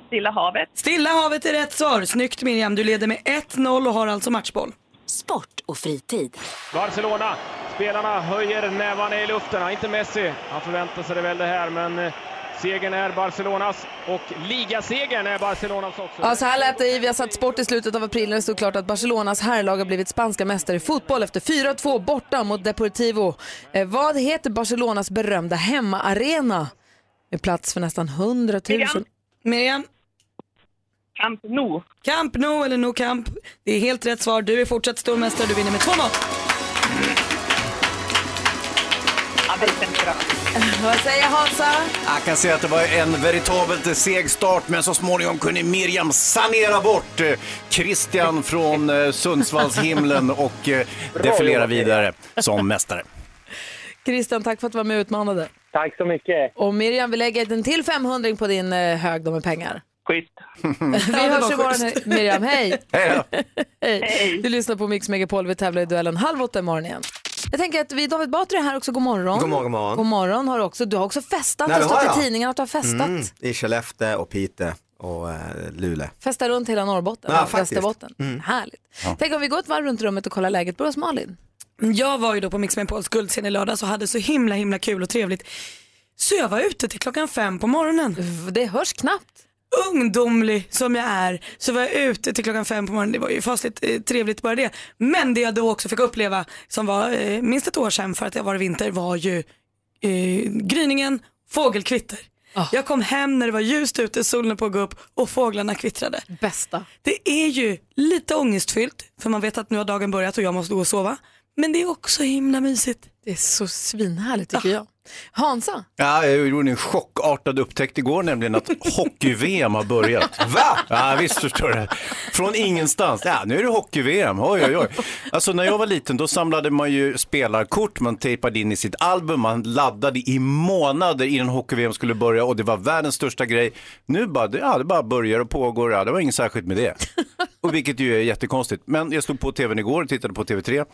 Stilla havet.
Stilla havet är rätt svar. Snyggt Miriam. Du leder med 1-0 och har alltså matchboll.
Sport och fritid.
Barcelona. Spelarna höjer nävarna i luften. Ja, Inte Messi. Han förväntar sig det väl det här, men eh, segern är Barcelonas och ligasegern är Barcelonas också.
Ja, så här lät det i Vi har satt sport i slutet av april när det stod klart att Barcelonas herrlag har blivit spanska mästare i fotboll efter 4-2 borta mot Deportivo. Eh, vad heter Barcelonas berömda hemmaarena? Med plats för nästan 100 000.
Miriam?
Camp Nou.
Camp Nou eller No Camp. Det är helt rätt svar. Du är fortsatt stormästare. Du vinner med 2-0.
Vad säger Hansa?
Jag kan säga att det var en veritabelt seg start, men så småningom kunde Miriam sanera bort eh, Christian från eh, Sundsvallshimlen och eh, defilera
jobbat,
vidare som mästare.
Christian, tack för att du var med och utmanade.
Tack så mycket.
Och Miriam, vi lägger en till 500 på din eh, hög då med pengar.
Skit.
Vi hörs imorgon, Miriam. Hej!
Hej då.
Hej. Du lyssnar på Mix Megapol. Vi tävlar i duellen halv åtta imorgon igen. Jag tänker att vi, David Batra är här också. God morgon.
God morgon, god morgon.
God morgon har du också. Du har också festat.
Nej,
det
det har
har stått i
jag.
tidningen att du har festat.
Mm, I Skellefteå och Piteå och eh, Luleå.
Festa runt hela Norrbotten
Ja,
och
faktiskt. Mm.
Västerbotten. Härligt. Tänk om vi går ett varv runt rummet och kollar läget på oss, Malin.
Jag var ju då på Mix Megapols guldscen i lördags och hade så himla himla kul och trevligt. Så jag var ute till klockan fem på morgonen.
Det hörs knappt.
Ungdomlig som jag är så var jag ute till klockan fem på morgonen. Det var ju fasligt eh, trevligt bara det. Men det jag då också fick uppleva som var eh, minst ett år sedan för att jag var i vinter var ju eh, gryningen, fågelkvitter.
Ah.
Jag kom hem när det var ljust ute, solen på att gå upp och fåglarna kvittrade.
Bästa.
Det är ju lite ångestfyllt för man vet att nu har dagen börjat och jag måste gå och sova. Men det är också himla mysigt. Ah.
Det är så svinhärligt tycker jag. Hansa?
Ja, jag gjorde en chockartad upptäckt igår, nämligen att hockey-VM har börjat. Va? Ja, visst förstår du. Från ingenstans. Ja, nu är det hockey-VM, oj oj oj. Alltså när jag var liten då samlade man ju spelarkort, man tejpade in i sitt album, man laddade i månader innan hockey-VM skulle börja och det var världens största grej. Nu bara, det- ja, det bara börjar och pågår, ja, det var inget särskilt med det. Och vilket ju är jättekonstigt. Men jag slog på tvn igår och tittade på TV3.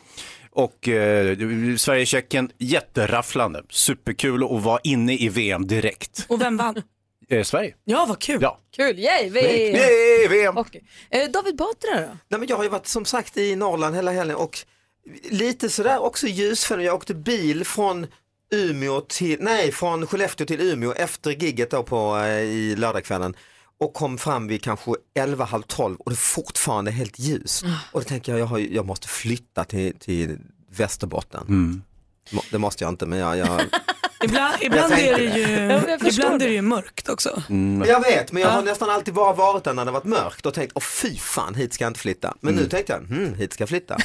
Och eh, Sverige-Tjeckien, jätterafflande. Superkul att vara inne i VM direkt.
Och vem vann?
Eh, Sverige.
Ja, vad kul.
Ja.
Kul, yay!
Yay, Yay, VM!
Eh, David Batra då?
Nej, men jag har ju varit som sagt i Norrland hela helgen och lite sådär också ljusfällan. Jag åkte bil från Umeå till, nej från Skellefteå till Umeå efter gigget då på, eh, i lördagskvällen och kom fram vid kanske 11, halv 12 och det är fortfarande helt
Ah.
ljus. Och då tänker jag, jag, har, ju- jag måste flytta till, till Västerbotten. Må- Det måste jag inte men jag, jag
Ibland, ibland, är,
tänkte
det ju,
det. Ja, men jag förstår
ibland är det
det.
ju mörkt också.
Men Jag vet, men jag har
Ja.
nästan alltid bara varit där när det varit mörkt och tänkt, åh fy fan, hit ska jag inte flytta. Men
Mm.
nu tänkte jag, hm, hit ska jag flytta.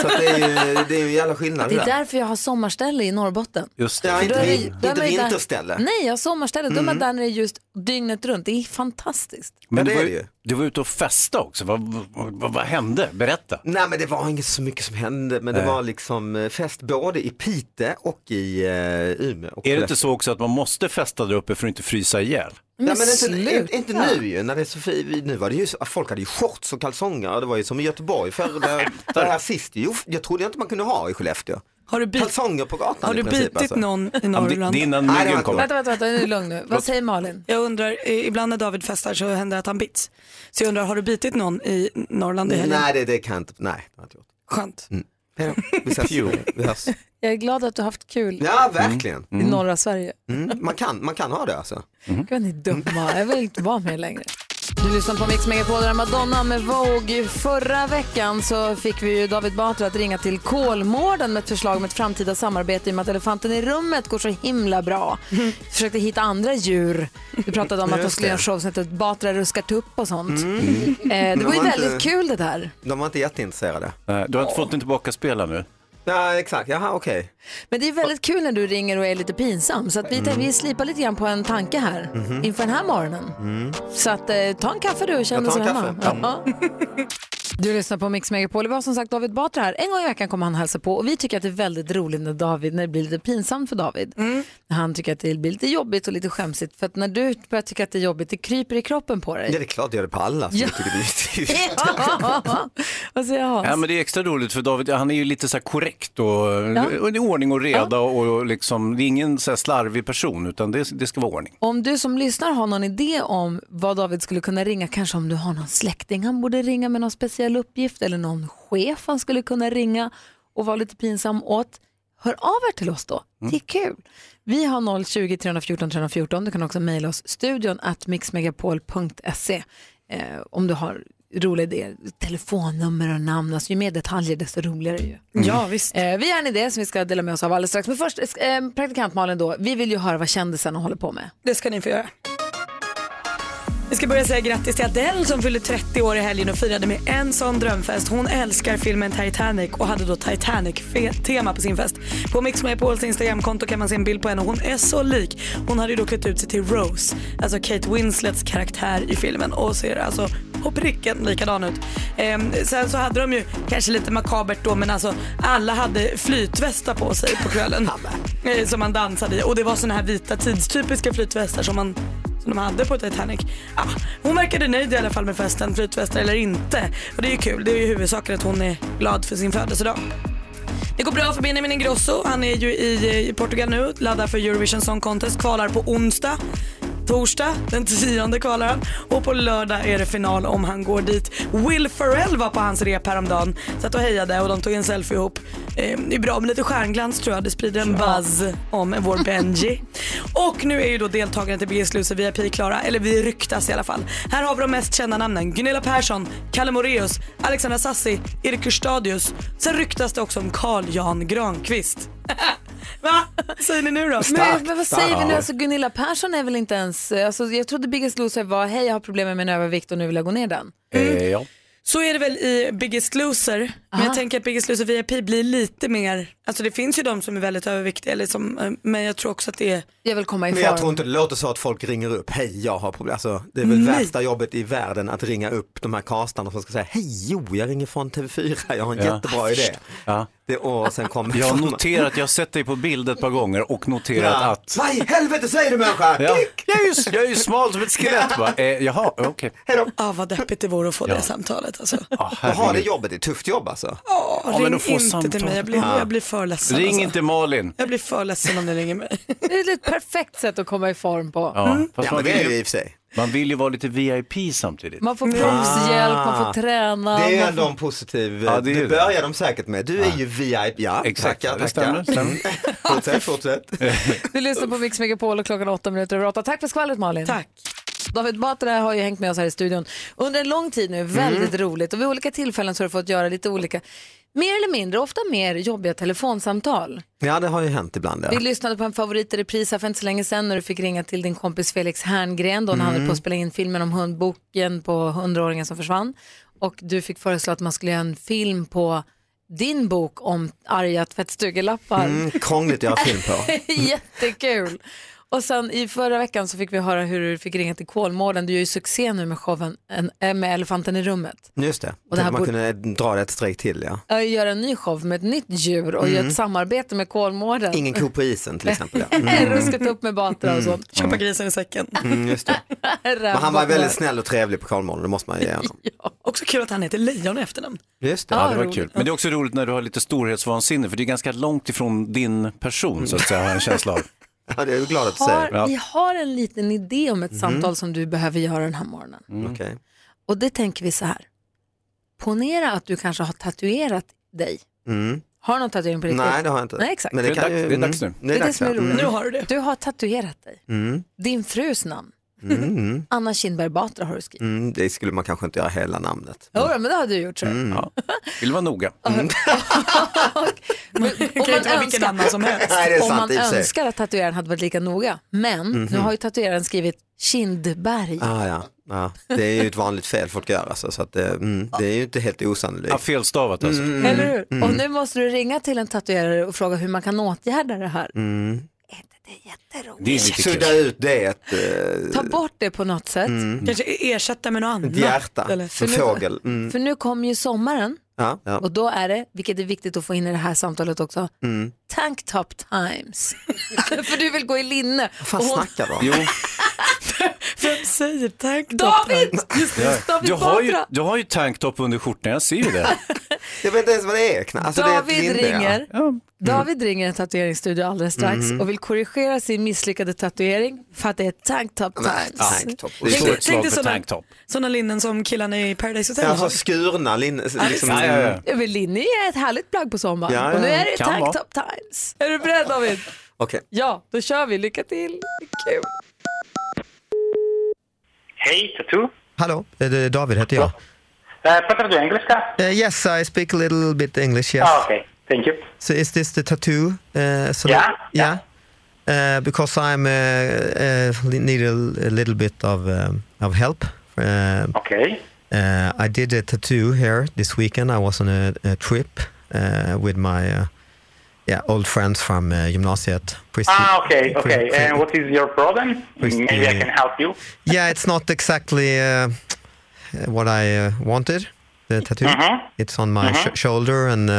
Så att det är ju det är ju en jävla skillnad.
Det är
där.
därför jag har sommarställe i Norrbotten.
Just
det. Ja,
För
inte,
då är-
vin-
då är
inte
man ju där-
vinterställe.
Nej, jag har sommarställe. Då är man
Mm.
där när det är just dygnet runt. Det är fantastiskt.
Men du, var, ju- du var ute och festa också, vad, vad, vad, vad hände? Berätta.
Nej men det var inget så mycket som hände, men det
Nej.
var liksom eh, fest både i Pite och i eh, Umeå. Och
Är det inte så också att man måste festa där uppe för att inte frysa ihjäl?
Nej, men inte, inte, inte nu ju, när det är så fi- nu var det ju, så- folk hade ju shorts och kalsonger, och det var ju som i Göteborg förr, där, där här sist, jo, jag trodde inte man kunde ha i Skellefteå.
Har du
kalsonger på gatan
Har
i
du
princip,
bitit
alltså.
någon i Norrland?
Vänta, vänta, vänta. Nu är det lugn nu. Vad säger Malin?
Jag undrar, eh, ibland när David festar så händer det att han bits. Så jag undrar, har du bitit någon i Norrland i helgen?
Nej, det, det kan jag inte. Nej, det har jag inte gjort.
Skönt.
Mm. Hej då. Vi ses. Vi hörs.
Jag är glad att du har haft kul
Ja, verkligen.
Mm.
i norra Sverige.
Mm. Man, kan, man kan ha det alltså.
Gud, ni är dumma. Jag vill inte vara med längre. Du lyssnar på Mix Megapol där Madonna med Vogue. Förra veckan så fick vi ju David Batra att ringa till Kolmården med ett förslag om ett framtida samarbete i och med att elefanten i rummet går så himla bra. Försökte hitta andra djur. Vi pratade om att de
Just
skulle göra en
det.
show som heter Batra ruskar tupp och sånt.
Mm.
Eh, det
Men
var ju
var inte-
väldigt kul det där.
De var inte jätteintresserade.
Nej, Eh, du har inte fått den tillbaka spela nu?
Nej, exakt. Jaha, okej.
Men det är väldigt kul när du ringer och är lite pinsam. Så att vi,
Mm.
vi slipar lite grann på en tanke här
Mhm.
inför den här morgonen.
Mm.
Så att, eh, ta en kaffe du och känn
Jag
dig
tar
som
en
hemma.
kaffe.
Ja. Du lyssnar på Mix Megapol. Det var som sagt David Batra här. En gång i veckan kommer han hälsa på och vi tycker att det är väldigt roligt när, David, när det blir lite pinsamt för David.
Mm.
När han tycker att det blir lite jobbigt och lite skämsigt. För att när du börjar tycka att det är jobbigt, det kryper i kroppen på
Ja, det
dig.
är klart jag gör det på alla som
Ja.
tycker det är lite-
Ja. Vad säger Hans?
Ja, men det är extra roligt för David, han är ju lite så här korrekt och,
Ja.
och det är ordning och reda och, och liksom, det är ingen så här slarvig person utan det, det ska vara ordning.
Om du som lyssnar har någon idé om vad David skulle kunna ringa, kanske om du har någon släkting han borde ringa med någon speciell uppgift eller någon chef han skulle kunna ringa och vara lite pinsam åt, hör av er till oss då.
Mm.
Det är kul. Vi har 020 314 314. Du kan också mejla oss studion at mixmegapol.se eh, om du har roliga idéer. Telefonnummer och namn, alltså ju mer detaljer desto roligare ju.
Mm. Ja, visst.
Eh, vi har en idé som vi ska dela med oss av alldeles strax. Men först, eh, praktikant Malin då, vi vill ju höra vad kändisarna håller på med.
Det ska ni få göra. Vi ska börja säga grattis till Adele som fyllde 30 år i helgen och firade med en sån drömfest. Hon älskar filmen Titanic och hade då Titanic-tema på sin fest. På Mix Megapols Instagramkonto kan man se en bild på henne och hon är så lik. Hon hade ju då klätt ut sig till Rose, alltså Kate Winslets karaktär i filmen och ser alltså på pricken likadan ut. Ehm, sen så hade de ju, kanske lite makabert då, men alltså alla hade flytvästar på sig på kvällen. Eh, som man dansade i och det var såna här vita tidstypiska flytvästar som man som de hade på Titanic. Ja, hon verkade nöjd i alla fall med festen, flytvästar eller inte. Och det är ju kul, det är ju huvudsaken att hon är glad för sin födelsedag. Det går bra för Benjamin Ingrosso. Han är ju i eh, Portugal nu, laddar för Eurovision Song Contest, kvalar på onsdag. Torsdag den 10 kvalar han och på lördag är det final om han går dit. Will Ferrell var på hans rep häromdagen, satt och hejade och de tog en selfie ihop. Eh, det är bra med lite stjärnglans tror jag, det sprider en buzz om vår Benji. och nu är ju då deltagarna till Biggest Loser VIP klara, eller vi ryktas i alla fall. Här har vi de mest kända namnen, Gunilla Persson, Kalle Moreus, Alexandra Sassi, Erik Hurstadius. Sen ryktas det också om Carl Jan Granqvist. Va? Säger ni nu då?
Men, men vad säger vi nu? Alltså, Gunilla Persson är väl inte eh, ens... Alltså, jag trodde Biggest Loser var hej jag har problem med min övervikt och nu vill jag gå ner den.
Eh, ja.
Så är det väl i Biggest Loser,
Ah.
men jag tänker att Biggest Loser VIP blir lite mer, alltså det finns ju de som är väldigt överviktiga, eller som, eh, men jag tror också att det är...
Jag vill komma
Men jag tror inte det låter så att folk ringer upp, hej jag har problem. Alltså, det är väl
Nej.
värsta jobbet i världen att ringa upp de här castarna som ska säga, hej jo jag ringer från TV4, jag har en
Ja.
jättebra idé. Det, och sen kommer
Jag har noterat, jag har sett dig på bild ett par gånger och noterat
Ja.
att...
Vad i helvete säger du människa?
Ja.
Klick!
Jag, är ju, jag är ju smal som ett skelett bara. Eh, jaha, okej.
Ja ah, vad deppigt det vore att få
Ja.
det samtalet alltså.
Ah,
Jaha, det jobbet det är ett tufft jobb alltså.
Åh,
Ja, men
ring
då får
inte
samtal.
till mig, jag blir,
Ja.
jag blir för ledsen.
Ring
alltså.
inte Mm. Malin.
Jag blir för ledsen om ni ringer mig.
Det är ett perfekt sätt att komma i form på.
Ja,
Mm.
fast man, vill ju,
i och för sig.
man vill ju vara lite VIP samtidigt.
Man får proffshjälp, man får träna.
Ah. Det är ju
man
ändå
får...
en positiv,
Ja, det
det,
är ju det.
börjar de säkert med. Du är ju VIP, ja
Exakt,
tackar,
det
tackar.
stämmer, Eh,
fortsätt, fortsätt.
Du lyssnar på Mix Megapol och klockan är åtta minuter över åtta. Tack för skvallret Malin. Tack. David Batra har ju hängt med oss här i studion under en lång tid nu, väldigt
Mm.
roligt och vid olika tillfällen så har du fått göra lite olika, mer eller mindre, ofta mer jobbiga telefonsamtal.
Ja, det har ju hänt ibland. Ja.
Vi lyssnade på en favorit i repris här för inte så länge sedan när du fick ringa till din kompis Felix Herngren då när han
Mm.
höll på att spela in filmen om hundboken på hundraåringen som försvann. Och du fick föreslå att man skulle göra en film på din bok om arga tvättstugelappar.
Mm, krångligt att göra film på. Mm,
Jättekul. Och sen i förra veckan så fick vi höra hur du fick ringa till Kolmården. Du gör ju succé nu med showen en, eh, med Elefanten i rummet.
Just det,
Och det här
man
borde-
kunde dra det ett streck till ja.
Jag gör en ny show med ett nytt djur och gör
Mm.
ett samarbete med Kolmården.
Ingen ko på isen till exempel. Ja.
Mm. Ruskat upp med Batra och så.
Mm. Köpa
grisen i säcken.
Mm, just det. Men han var väldigt snäll och trevlig på Kolmården, det måste man ge honom.
Också kul att han heter Lejon i efternamn.
Just
Ja, det var
roligt.
kul. Men det är också roligt när du har lite storhetsvansinne, för det är ganska långt ifrån din person, så att säga, har jag en känsla av.
Ja, det är jag glad att Mm.
Har, vi har en liten idé om ett
Mhm.
samtal som du behöver göra den här morgonen.
Mm.
Och det tänker vi så här. Ponera att du kanske har tatuerat dig.
Mm.
Har du någon tatuering på ditt
Nej,
rygg?
det har jag inte.
Nej, exakt.
Men det Det är kan dags- ju- det är dags nu.
Det är det som är
ja.
roligt.
Mm. Nu har
du det.
Du har tatuerat dig.
Mm.
Din frus namn.
Mm. Mm.
Anna Kinberg Batra har du skrivit.
Mm. Det skulle man kanske inte göra hela namnet.
Jodå, men det har du gjort. tror jag.
Mm.
Vill vara noga.
Om
kan ju inte vara vilken annan som helst. Nej, det är
om
sant,
man
i och för sig.
önskar att tatueraren hade varit lika noga. Men
Mhm.
nu har ju tatueraren skrivit Kindberg.
Ah, ja. Ja. Det är ju ett vanligt fel folk gör alltså, så att, det- mm. det är ju inte helt osannolikt. Ja,
felstavat
alltså. Mm.
Eller hur?
Mm.
Och nu måste du ringa till en tatuerare och fråga hur man kan åtgärda det här.
Mm.
Det är lite
Sudda
kul.
ut det. Ett, eh,
Ta bort det på något sätt.
Mm.
Kanske e- ersätta med något annat.
ett hjärta,
Eller-
en
För nu-
fågel. Mm.
För nu kommer ju sommaren
Ja, ja.
och då är det, vilket är viktigt att få in i det här samtalet också,
Mm.
tank top times. för du vill gå i linne.
Vad
Och hon-
snackar du om?
Vem säger tank top
David! Just
Ja.
det, David
Du har, ju,
Batra.
du har ju tanktop under skjortan, jag ser ju det.
Jag vet inte ens vad det är. knappt. Alltså, det är ett
David,
minne, ja.
ringer. David ringer en tatueringsstudio alldeles strax
Mhm.
och vill korrigera sin misslyckade tatuering för att det är tank top times.
Det är
Tänk
så
dig-
ett slag
tänk dig
för
såna-
tanktop.
Sådana linnen som killarna i Paradise Hotel
Alltså
har.
skurna, lin,
är
liksom.
sant. Ja, ja, ja.
Ja, men Linne är ett härligt plagg på sommaren
Ja, ja,
och nu är
ja.
det
Kan
tank
vara.
top times. Är du beredd David?
Okej.
Ja, då kör vi. Lycka till. Kul.
Hej, Tattoo.
Hallå, eh, det är David heter jag.
Uh, pratar du engelska?
Eh, yes, I speak a little bit English, yes.
Ah, okay. Thank you.
So is this the tattoo? Uh, so
Yeah,
that- yeah. Uh, because I'm uh, uh, li- need a, l- a little bit of um, of help. Um,
okay.
Uh, I did a tattoo here this weekend. I was on a, a trip uh, with my uh, yeah old friends from uh, gymnasiet. Christi-
ah, okay,
Chris-
okay.
Chris-
And what is your problem?
Christi-
Maybe I can help you.
yeah, it's not exactly uh, what I uh, wanted. The tattoo.
Mhm.
It's on my
Mhm.
sh- shoulder and uh,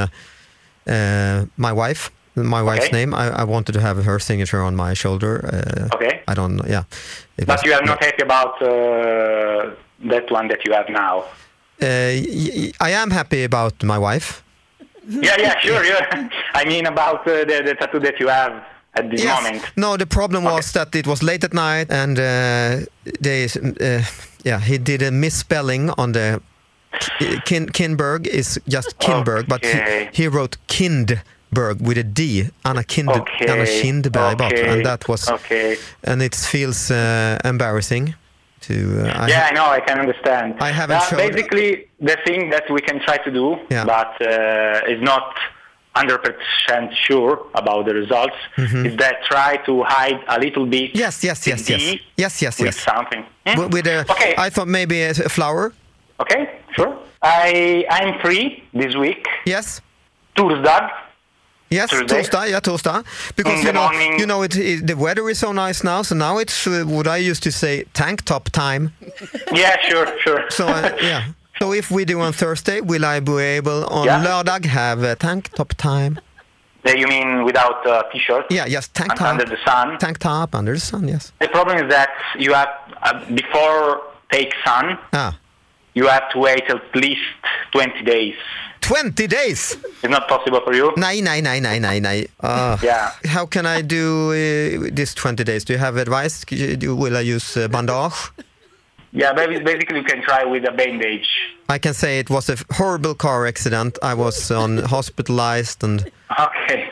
uh, my wife. My wife's name. I, I wanted to have her signature on my shoulder. Uh,
Okay.
I don't. Yeah. It was-
But you are not happy about uh, that one that you have now.
Uh, y- y- I am happy about my wife.
yeah, yeah, sure. Yeah. I mean about uh, the, the tattoo that you have at this moment.
No, the problem was that it was late at night, and uh, they, uh, yeah, he did a misspelling on the Kin- Kinberg is just Kinberg, but
Okay.
he, he wrote Kindberg with a D, Anna Kind,
Okay.
Anna Kindberg, but-
Okay.
and that was,
Okay.
and it feels uh, embarrassing. To uh, I
yeah, I know. I can understand. I
haven't showed-
Basically, the thing that we can try to do,
Yeah.
but uh, is not 100% sure about the results,
Mhm.
is that try to hide a little bit.
Yes, yes,
the
yes, yes,
D
yes, yes,
With
yes.
something. Hmm?
With, with a, I thought maybe a, a flower.
Okay, sure. I I'm free this week.
Yes.
Tuesday.
Yes,
Tuesday.
Tuesday, yeah, Tuesday. Because
In
you
the
know,
morning.
you know, it, it, the weather is so nice now. So now it's uh, what I used to say, tank top time.
Yeah, sure, sure.
So uh, yeah. So if we do on Thursday, will I be able on lördag have uh, tank top time?
Yeah, you mean without uh, t-shirt?
Yeah, yes, tank
And
top.
Under the sun.
Tank top under the sun, yes.
The problem is that you have uh, before take sun,
Ah,
you have to wait at least 20 days.
20 days.
It's not possible for you.
nej, nej, nej, nej, nej, nej. Uh,
Yeah.
How can I do uh, this 20 days? Do you have advice? C- you- do- Will I use uh, bandage?
Yeah, ba- basically you can try with a bandage.
I can say it was a horrible car accident. I was on hospitalized and
Okay.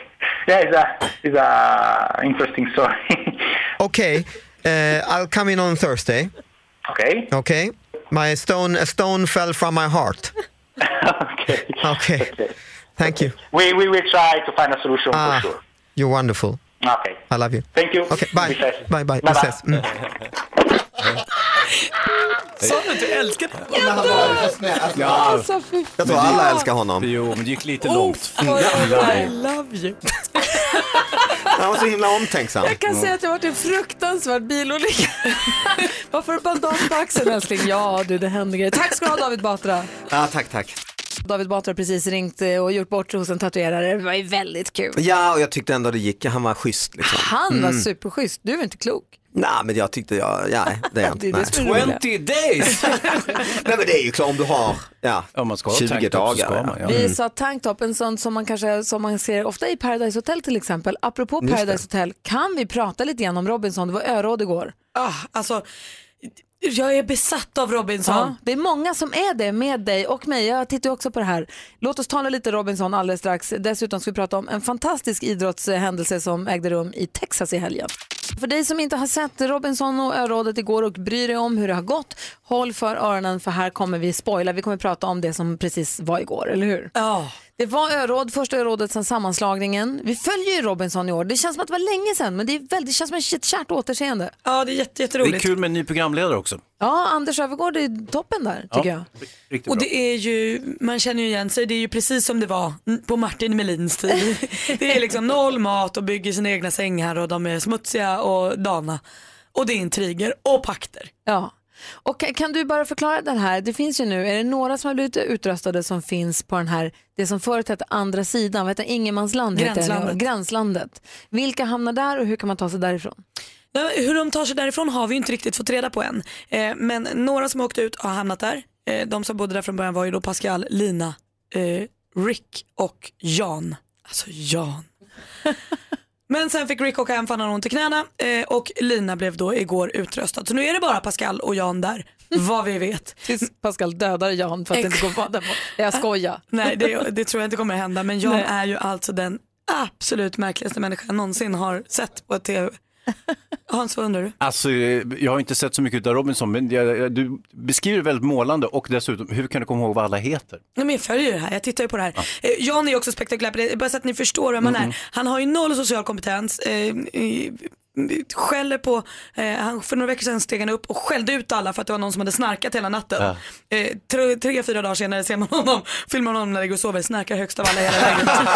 Yeah, it's a it's a interesting story.
okay. Uh, I'll come in on Thursday.
Okay.
Okay. My stone a stone fell from my heart.
okay.
Okay. Thank you.
we we will try to find a solution
Ah,
for sure.
You're wonderful.
Okay.
I love you.
Thank you.
Okay, bye.
Vi ses.
Bye bye. Vi
Bye-bye.
ses. Mm.
Sa du att du älskade honom?
Men han var ju så snäll. Alltså, Alltså, fy fan. Jag tror alla älskar honom.
Jo, men det gick
Oh,
lite långt.
I love you.
Han var så himla omtänksam.
Jag kan säga att jag har varit i en fruktansvärd bilolycka. Varför har du bandage på axeln älskling? Ja du, det händer grejer. Tack ska du ha David Batra.
Ja, tack, tack.
David Batra har precis ringt eh, och gjort bort sig hos en tatuerare. Det var ju väldigt kul.
Ja, och jag tyckte ändå det gick. Han var schysst liksom.
Han var
Mm.
superschysst, du är inte klok.
Nej, men jag tyckte jag, ja, det är jag
Det är
inte.
det
nej.
som är roligt. 20
Ah, days!
nej, men det är ju klart om du har ja, om man ska
ha
20
tanktop så
dagar.
ska man, ja.
Vi
Mm.
sa tanktop, en sån som man, kanske, som man ser ofta i Paradise Hotel till exempel. Apropå
Just det.
Paradise Hotel, kan vi prata lite grann om Robinson? Det var öråd igår.
Ah, alltså, jag är besatt av Robinson.
Ja, det är många som är det med dig och mig. Jag tittar ju också på det här. Låt oss tala lite Robinson alldeles strax. Dessutom ska vi prata om en fantastisk idrottshändelse som ägde rum i Texas i helgen. För dig som inte har sett Robinson och örådet igår och bryr dig om hur det har gått, håll för öronen för här kommer vi spoila. Vi kommer prata om det som precis var igår, eller hur?
Ja.
Det var öråd, första örådet sedan sammanslagningen. Vi följer ju Robinson i år. Det känns som att det var länge sedan, men det, är väldigt, det känns som ett kärt återseende.
Ja, det är jätte,
Det är
jätteroligt.
kul med en ny programledare också.
Ja, Anders Öfvergård är toppen där, tycker jag.
Riktigt
Och
bra.
det är ju, man känner ju igen sig, det är ju precis som det var på Martin Melins tid. Det är liksom noll mat och bygger sina egna sängar och de är smutsiga och dana. Och det är intriger och pakter.
Ja. Och ka- kan du bara förklara den här, det finns ju nu, är det några som har blivit utröstade som finns på den här, det som förut hette andra sidan, vad heter det? Ingenmansland? heter det nu.
Gränslandet.
Gränslandet. Vilka hamnar där och hur kan man ta sig därifrån?
Nej, Hur de tar sig därifrån har vi ju inte riktigt fått reda på än. Eh, men några som åkte ut har hamnat där. Eh, de som bodde där från början var ju då Pascal, Lina, eh, Rick och Jan. Alltså Jan. men sen fick Rick åka hem för han hade ont i knäna eh, och Lina blev då igår utröstad. Så nu är det bara Pascal och Jan där, vad vi vet.
Tills Pascal dödar Jan för att det inte går på den. Jag skojar.
Nej det, det tror jag inte kommer hända men Jan
Nej.
är ju alltså den absolut märkligaste människan jag någonsin har sett på tv. Hans vad undrar du?
Alltså, eh, jag har inte sett så mycket av Robinson, men jag, jag, du beskriver det väldigt målande och dessutom, hur kan du komma ihåg vad alla heter?
Nej, men jag följer ju det här, jag tittar ju på det här. Eh, Jan är ju också spektakulär på det, bara så att ni förstår vem han
Mm.
är. Han har ju noll social kompetens, eh, eh, skäller på, eh, han, för några veckor sedan steg han upp och skällde ut alla för att det var någon som hade snarkat hela natten.
Ja.
Eh, tre, tre, fyra dagar senare ser man honom, filmar honom när det går och sover, snarkar högst av alla i hela lägenheten.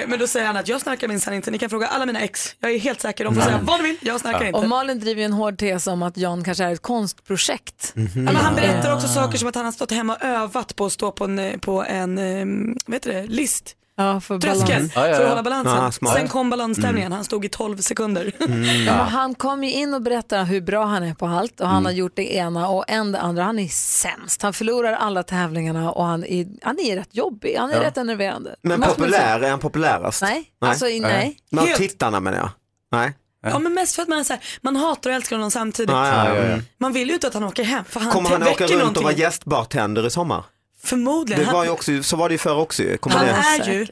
eh, men då säger han att jag snarkar minsann inte, ni kan fråga alla mina ex. Jag är helt säker, de får säga vad de vill, jag snarkar inte.
Och Malin driver ju en hård tes om att Jan kanske är ett konstprojekt.
Mhm.
Ja,
Mm.
men han berättar också saker som att han har stått hemma och övat på att stå på en, eh, på en eh, vet du det, list.
Ja, för
Tröskel
balans. Ja, ja,
för att
ja.
hålla balansen.
Ja, smart.
Sen kom balanstävlingen,
Mm.
han stod i 12 sekunder.
Mm.
Ja, men han kom ju in och berättade hur bra han är på allt och
Mm.
han har gjort det ena och en det andra. Han är sämst. Han förlorar alla tävlingarna och han är, han är rätt jobbig. Han är
Ja.
rätt enerverande.
Men
Måste man säga.
populär, är han populärast?
Nej, alltså, nej.
Men av
Helt-
tittarna menar jag. Nej.
Ja men mest för att man, är så här, man hatar och älskar honom samtidigt.
Ja, ja, ja, ja. Mm.
Man vill ju inte att han åker hem för han
Kommer han
väcker
åka runt och
någonting.
vara gästbartender i sommar?
Förmodligen.
Det var
Han-
ju också, så var det ju förr också ju. Kommer
Han
det-
är ju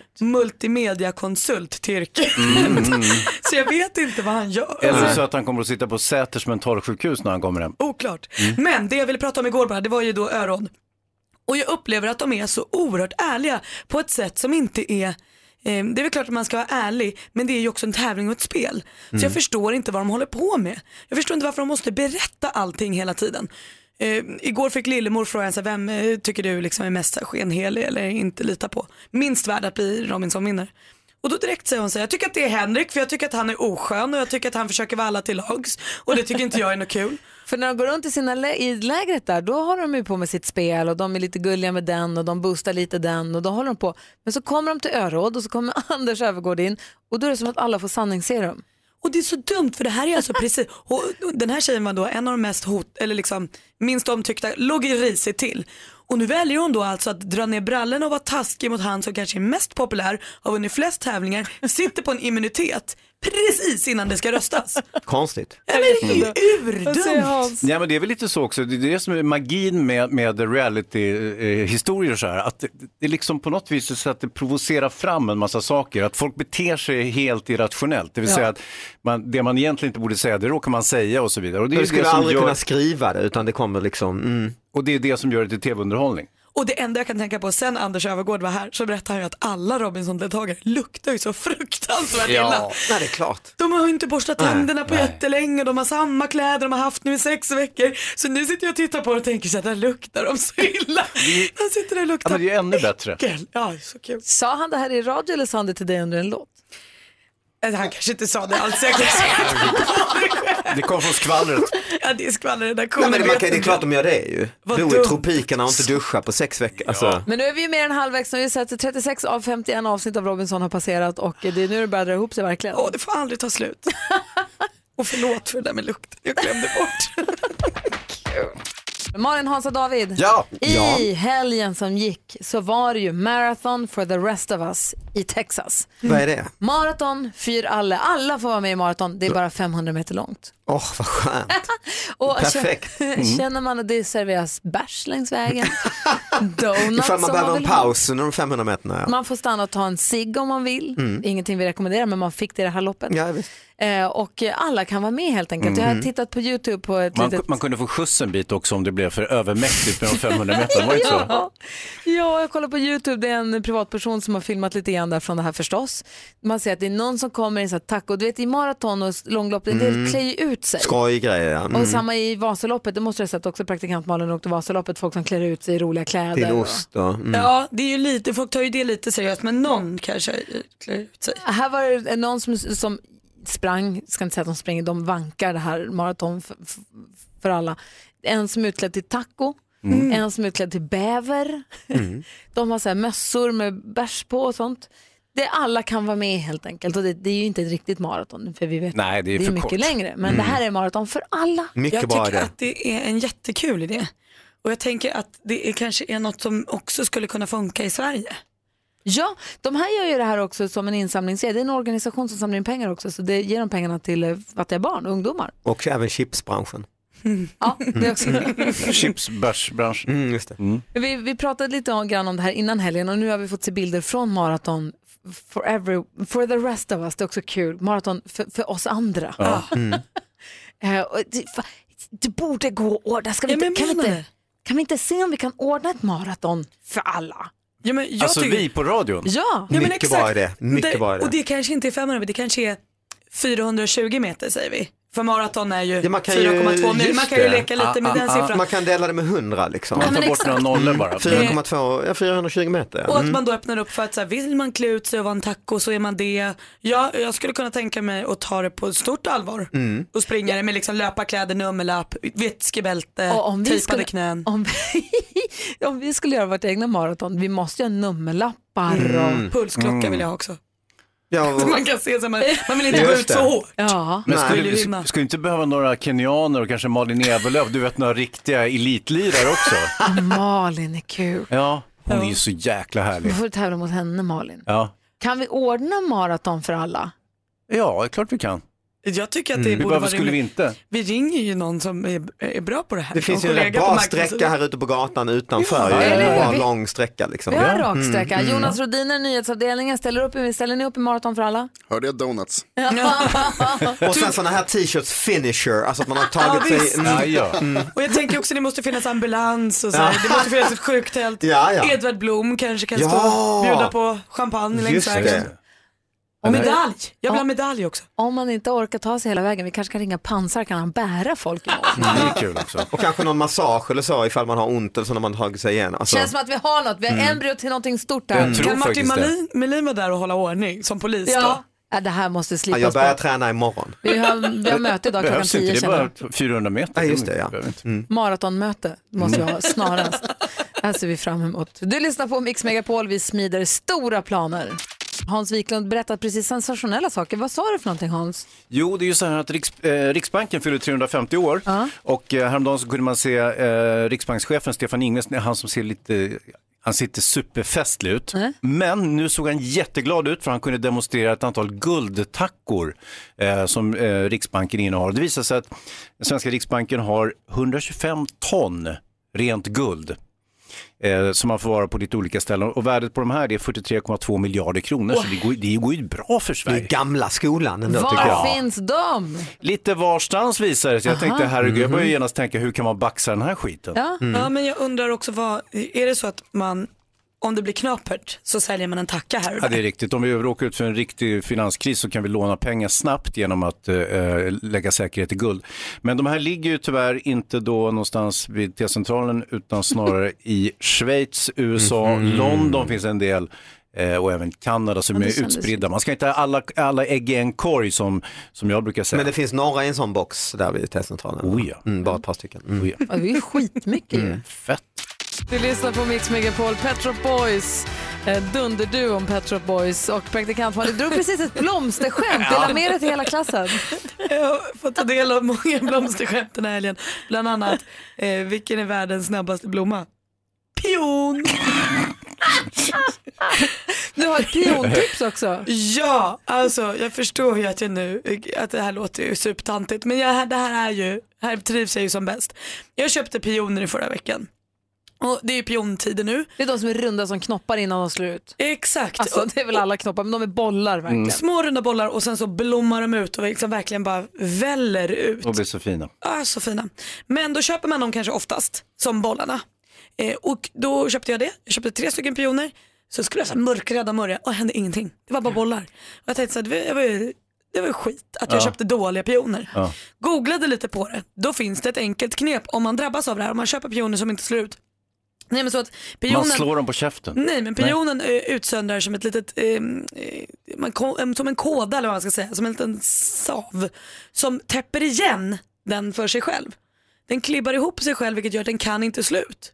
multimediakonsult till yrket.
Mm, mm, mm.
så jag vet inte vad han gör.
Eller så att han kommer att sitta på Säters mentalsjukhus när han kommer hem.
Oklart. Men det jag ville prata om igår bara, det var ju då öron. Och jag upplever att de är så oerhört ärliga på ett sätt som inte är eh, det är väl klart att man ska vara ärlig men det är ju också en tävling och ett spel. Så
Mm.
jag förstår inte vad de håller på med. Jag förstår inte varför de måste berätta allting hela tiden. Eh, igår fick Lillemor frågan så här, vem eh, tycker du liksom är mest så här skenhelig eller inte lita på. Minst värd att bli Robinson-vinnare. Och då direkt säger hon så här, jag tycker att det är Henrik för jag tycker att han är oskön och jag tycker att han försöker vara alla till lags och det tycker inte jag är något kul.
För när de går runt i, sina lä- i lägret där, då har de ju på med sitt spel och de är lite gulliga med den och de boostar lite den och då håller de på. Men så kommer de till öråd och så kommer Anders Öfvergård in och då är det som att alla får sanningsserum.
Och det är så dumt för det här är alltså precis, och den här tjejen var då en av de mest hot, eller liksom minst omtyckta, låg i risigt till. Och nu väljer hon då alltså att dra ner brallorna och vara taskig mot han som kanske är mest populär, har vunnit flest tävlingar, sitter på en immunitet precis innan det ska röstas.
Konstigt.
Nej, men det är ju urdumt.
Nej, men det är väl lite så också, det är det som är magin med, med reality-historier och så här, att det, det är liksom på något vis så att det provocerar fram en massa saker, att folk beter sig helt irrationellt, det vill
Ja.
säga att man, det man egentligen inte borde säga, det råkar man säga och så vidare. Och det är
Du
ju
skulle
det som
aldrig
gör-
kunna skriva det utan det kommer liksom, mm.
Och det är det som gör det till tv-underhållning.
Och det enda jag kan tänka på sen Anders Öfvergård var här så berättade han ju att alla Robinson-deltagare luktar ju så fruktansvärt illa.
Nej, det är klart.
De har ju inte borstat
Nej,
tänderna på
nej.
jättelänge, de har samma kläder de har haft nu i sex veckor. Så nu sitter jag och tittar på det och tänker så här, där luktar de så illa. De sitter där och
Ja,
luktar
men
Alltså,
det är ju ännu bättre.
äckel. Ja, så kul.
Sa han det här i radio eller sa han det till dig under en låt?
Eller, Han kanske inte sa det alls, jag kanske
Det kom från skvallret.
Ja, det är skvallerredaktionen.
Nej, men det, man, kan- det är
vet
klart de gör det ju.
Vad
Bo i
dumt.
tropikerna och inte duscha på sex veckor. Alltså.
Men nu är vi ju mer än halvvägs, nu har vi sett att 36 av 51 avsnitt av Robinson har passerat och det är nu det börjar dra ihop sig verkligen.
Åh, det får aldrig ta slut. Och förlåt för det där med lukten, jag glömde bort.
Malin, Hans och David.
Ja.
I
Ja.
helgen som gick så var det ju Marathon for the rest of us i Texas.
Vad är det?
Maraton för alla. Alla får vara med i maraton. Det är bara 500 meter långt.
Åh, vad skönt.
Och
Perfekt.
känner-
Mm.
Känner man att det serveras bärs längs vägen, donuts
Ifall
om
man behöver en
vill ha.
paus under de 500 meterna. Ja.
Man får stanna och ta en cigg om man vill.
Mm.
Ingenting vi rekommenderar men man fick det i det här loppet. Eh, och eh, alla kan vara med helt enkelt. Jag har
Mm.
Mhm.
tittat på YouTube på ett
Man,
litet...
man kunde få skjuts en bit också om det blev för övermäktigt med de 500 meterna, var det inte så?
ja. ja, jag kollar på YouTube. Det är en privatperson som har filmat lite grann där från det här förstås. Man ser att det är någon som kommer i en sån här taco. Du vet i maraton och långlopp, det
Mm.
det klär ju ut sig.
Skoj grejer, ja. Mm.
Och samma i Vasaloppet, det måste jag ha sett också, praktikant Malin åkte Vasaloppet, folk som klär ut sig i roliga kläder.
Till
och-
ost då. Mm.
Ja, det är ju lite, folk tar ju det lite seriöst, men någon kanske eh, klär ut sig.
Här var det någon som, som sprang, ska inte säga att de springer, de vankar det här maraton för, för- för alla. En som är utklädd till taco,
Mm.
en som är utklädd till bäver.
Mm.
De har så här mössor med bärs på och sånt. Det alla kan vara med helt enkelt och det, det är ju inte ett riktigt maraton för vi vet
Nej, det är för
mycket
kort.
längre. Men
Mm.
det här är maraton för alla.
jag tycker att det är en jättekul idé. Och jag tänker att det är, kanske är något som också skulle kunna funka i Sverige.
Ja, de här gör ju det här också som en insamlingsserie. Det är en organisation som samlar in pengar också så det ger de pengarna till eh, fattiga barn och ungdomar.
Och även chipsbranschen.
Ja, det är också Mm.
Chipsbärsbranschen.
Mm, just det.
Vi, vi pratade lite om- grann om det här innan helgen och nu har vi fått se bilder från maraton f- for, every, for the rest of us. Det är också kul. Maraton för, för oss andra.
Ja.
Mm.
Eh, och det, fa- det borde gå att ordna. Ska vi
Ja,
inte,
men
kan, vi
menar
inte, kan vi inte se om vi kan ordna ett maraton för alla?
Ja, men jag
Alltså
tycker-
vi på radion?
Ja.
men
Mycket
exakt.
bra idé, mycket
det,
bra idé.
Och det kanske inte är 500 meter, det kanske är 420 meter säger vi. För maraton är ju
Ja, man kan ju,
4,2 mil. Man
just
kan ju
det. Ah,
leka lite med den siffran.
Man kan dela det med 100 liksom.
Man tar Ja, men bort några exakt. nollor bara.
4,2, ja 420 meter.
Och att
Mm.
man då öppnar upp för att så här, vill man klä ut sig och vara en taco så är man det. Ja, jag skulle kunna tänka mig att ta det på stort allvar.
Mm.
Och springa det med liksom löparkläder, nummerlapp, vätskebälte,
Och om vi
tejpade
skulle-
knän.
Om vi, om vi skulle göra vårt egna maraton, vi måste ju ha nummerlappar
Mm.
och...
Pulsklocka
Mm.
vill jag ha också.
Ja,
Så
och-
man kan se så här, man, man vill inte
Just
gå ut
det.
så hårt.
Ja.
Men
Nej.
skulle,
Vill
du
du
sk-
vinna?
skulle du inte behöva några kenyaner och kanske Malin Evelöv, du vet några riktiga elitlirare också?
Malin är kul.
Ja, hon är ju så jäkla härlig.
Då får du tävla mot henne Malin.
Ja,
Kan vi ordna maraton för alla?
ja det är klart vi kan.
Jag tycker att det
Mm.
borde
Varför
vara
skulle vi
rimligt.
inte?
Vi ringer ju någon som är, är bra på det här.
Det finns
Någon
ju en rätt
kollega på
bra
marknaden.
sträcka här ute på gatan
Ja,
utanför. Ja,
eller hur?
Bara
Vi-
en lång sträcka liksom.
Vi har en
Ja.
raksträcka.
Mm, mm.
Jonas Rodiner, nyhetsavdelningen, ställer, upp, ställer ni upp i maraton för alla?
Hörde jag donuts?
Och sen sådana här t-shirts finisher, alltså att man har
Ja,
tagit sig... Mm.
visst. Och jag tänker också det måste finnas ambulans och så här.
Ja.
Det måste finnas ett sjuktält.
Ja, ja.
Edvard Blom kanske kan
Ja.
stå och bjuda på champagne längs
Just
vägen.
det.
Och
Eller-
medalj! Jag vill ha medalj också.
Om man inte orkar ta sig hela vägen, vi kanske kan ringa pansar, kan han bära folk? imorgon?
Det är kul också. Och kanske någon massage eller så ifall man har ont eller så när man tagit sig igen. Alltså,
Känns som att vi har något, vi har
Mm.
embryo till någonting stort
Jag
där.
tror
Kan Martin
faktiskt det.
Melin, Melin vara där och hålla ordning som polis
Ja.
då?
ja, det här måste
ja,
slipas
jag börjar
bort.
träna imorgon.
Vi har, vi har möte idag klockan
Behövs inte,
10
det är
känner jag.
bara 400 meter.
Ja, just det, ja.
Maratonmöte måste vi
Mm.
ha snarast. Det här ser vi fram emot. Du lyssnar på Mix Megapol, vi smider stora planer. Hans Wiklund berättat precis sensationella saker. Vad sa du för någonting Hans?
Jo, det är ju så här att Riks, eh, Riksbanken fyller 350 år och eh, häromdagen så kunde man se eh, Riksbankschefen Stefan Ingves, det är han som ser lite han ser inte superfestlig ut, men nu såg han jätteglad ut för han kunde demonstrera ett antal guldtackor eh, som eh, Riksbanken innehar. Det visar sig att den svenska Riksbanken har 125 ton rent guld eh, som man förvarar på lite olika ställen och värdet på de här det är 43,2 miljarder kronor så det går, det går ju bra för Sverige. Det är
gamla skolan ändå
Var finns de?
Lite varstans visar det sig. Jag
Aha.
tänkte herregud, jag
Mhm.
började genast tänka hur kan man baxa den här skiten?
Ja.
Mm.
Ja men jag undrar också vad, är det så att man, om det blir knapert så säljer man en tacka här och där?
Ja, det är riktigt. Om vi råkar ut för en riktig finanskris så kan vi låna pengar snabbt genom att eh, eh, lägga säkerhet i guld. Men de här ligger ju tyvärr inte då någonstans vid T-centralen utan snarare i Schweiz, USA,
Mhm.
London finns en del eh, och även Kanada som
Ja, det
är
kändes-
utspridda. Man ska inte ha alla, alla ägg i en korg som, som jag brukar säga.
Men det finns några i en sån box där vid testcentralen.
Oh ja.
mm, bara ett par stycken.
Oh ja.
Ja, Det är ju skitmycket ju.
Fett.
Du lyssnar på Mix Megapol, Pet Shop Boys, eh, dunderduon Pet Shop Boys och praktikant Malin drog precis ett blomsterskämt. Dela med dig till hela klassen.
Jag får ta del av många blomsterskämt den här helgen. Bland annat, eh, vilken är världens snabbaste blomma? Pion!
Du har ett piontips också.
Ja, alltså jag förstår ju att jag nu, att det här låter ju supertantigt men jag, det här är ju, här trivs jag ju som bäst. Jag köpte pioner i förra veckan. Och det är ju piontider nu.
Det är de som är runda som knoppar innan de slår ut.
Exakt.
Alltså, det är väl alla knoppar, men de är bollar verkligen.
Mm. Små runda bollar och sen så blommar de ut och liksom verkligen bara väller ut.
Och blir så fina.
Ah, så fina. Men då köper man dem kanske oftast som bollarna. Eh, och då köpte jag det. Jag köpte tre stycken pioner. Så skulle jag så här mörkrädda mörja och det hände ingenting. Det var bara bollar. Och jag tänkte så här, det var, det var, ju- det var ju skit att jag
Ja.
köpte dåliga pioner.
Ja.
Googlade lite på det. Då finns det ett enkelt knep om man drabbas av det här. Om man köper pioner som inte slår ut. Nej men så att pionen...
Man slår dem på käften.
Nej men pionen eh, utsöndrar som ett litet, ehm, eh, man ko- em, som en kåda eller vad man ska säga, som en liten sav som täpper igen den för sig själv. Den klibbar ihop sig själv vilket gör att den kan inte slut.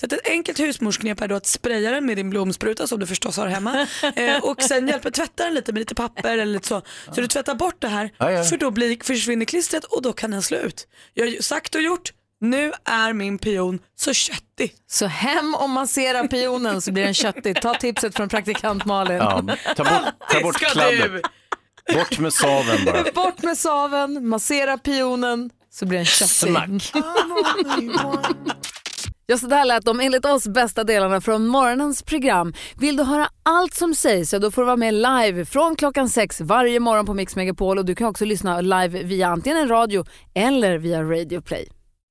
Så att ett enkelt husmorsknep är då att spraya den med din blomspruta som du förstås har hemma eh, och sen hjälpa tvätta den lite med lite papper eller lite så. Så du tvättar bort det här
Ja, ja.
för då blir, försvinner klistret och då kan den slå ut. Jag har ju sagt och gjort, nu är min pion så köttig.
Så hem och massera pionen så blir den köttig. Ta tipset från praktikant Malin.
Ja, ta bort, ta bort
Ska du?
kladden. Bort med saven bara.
Bort med saven, massera pionen så blir den köttig.
Smack.
Ja, så där lät de enligt oss bästa delarna från morgonens program. Vill du höra allt som sägs så då får du vara med live från klockan sex varje morgon på Mix Megapol och du kan också lyssna live via antingen en radio eller via Radio Play.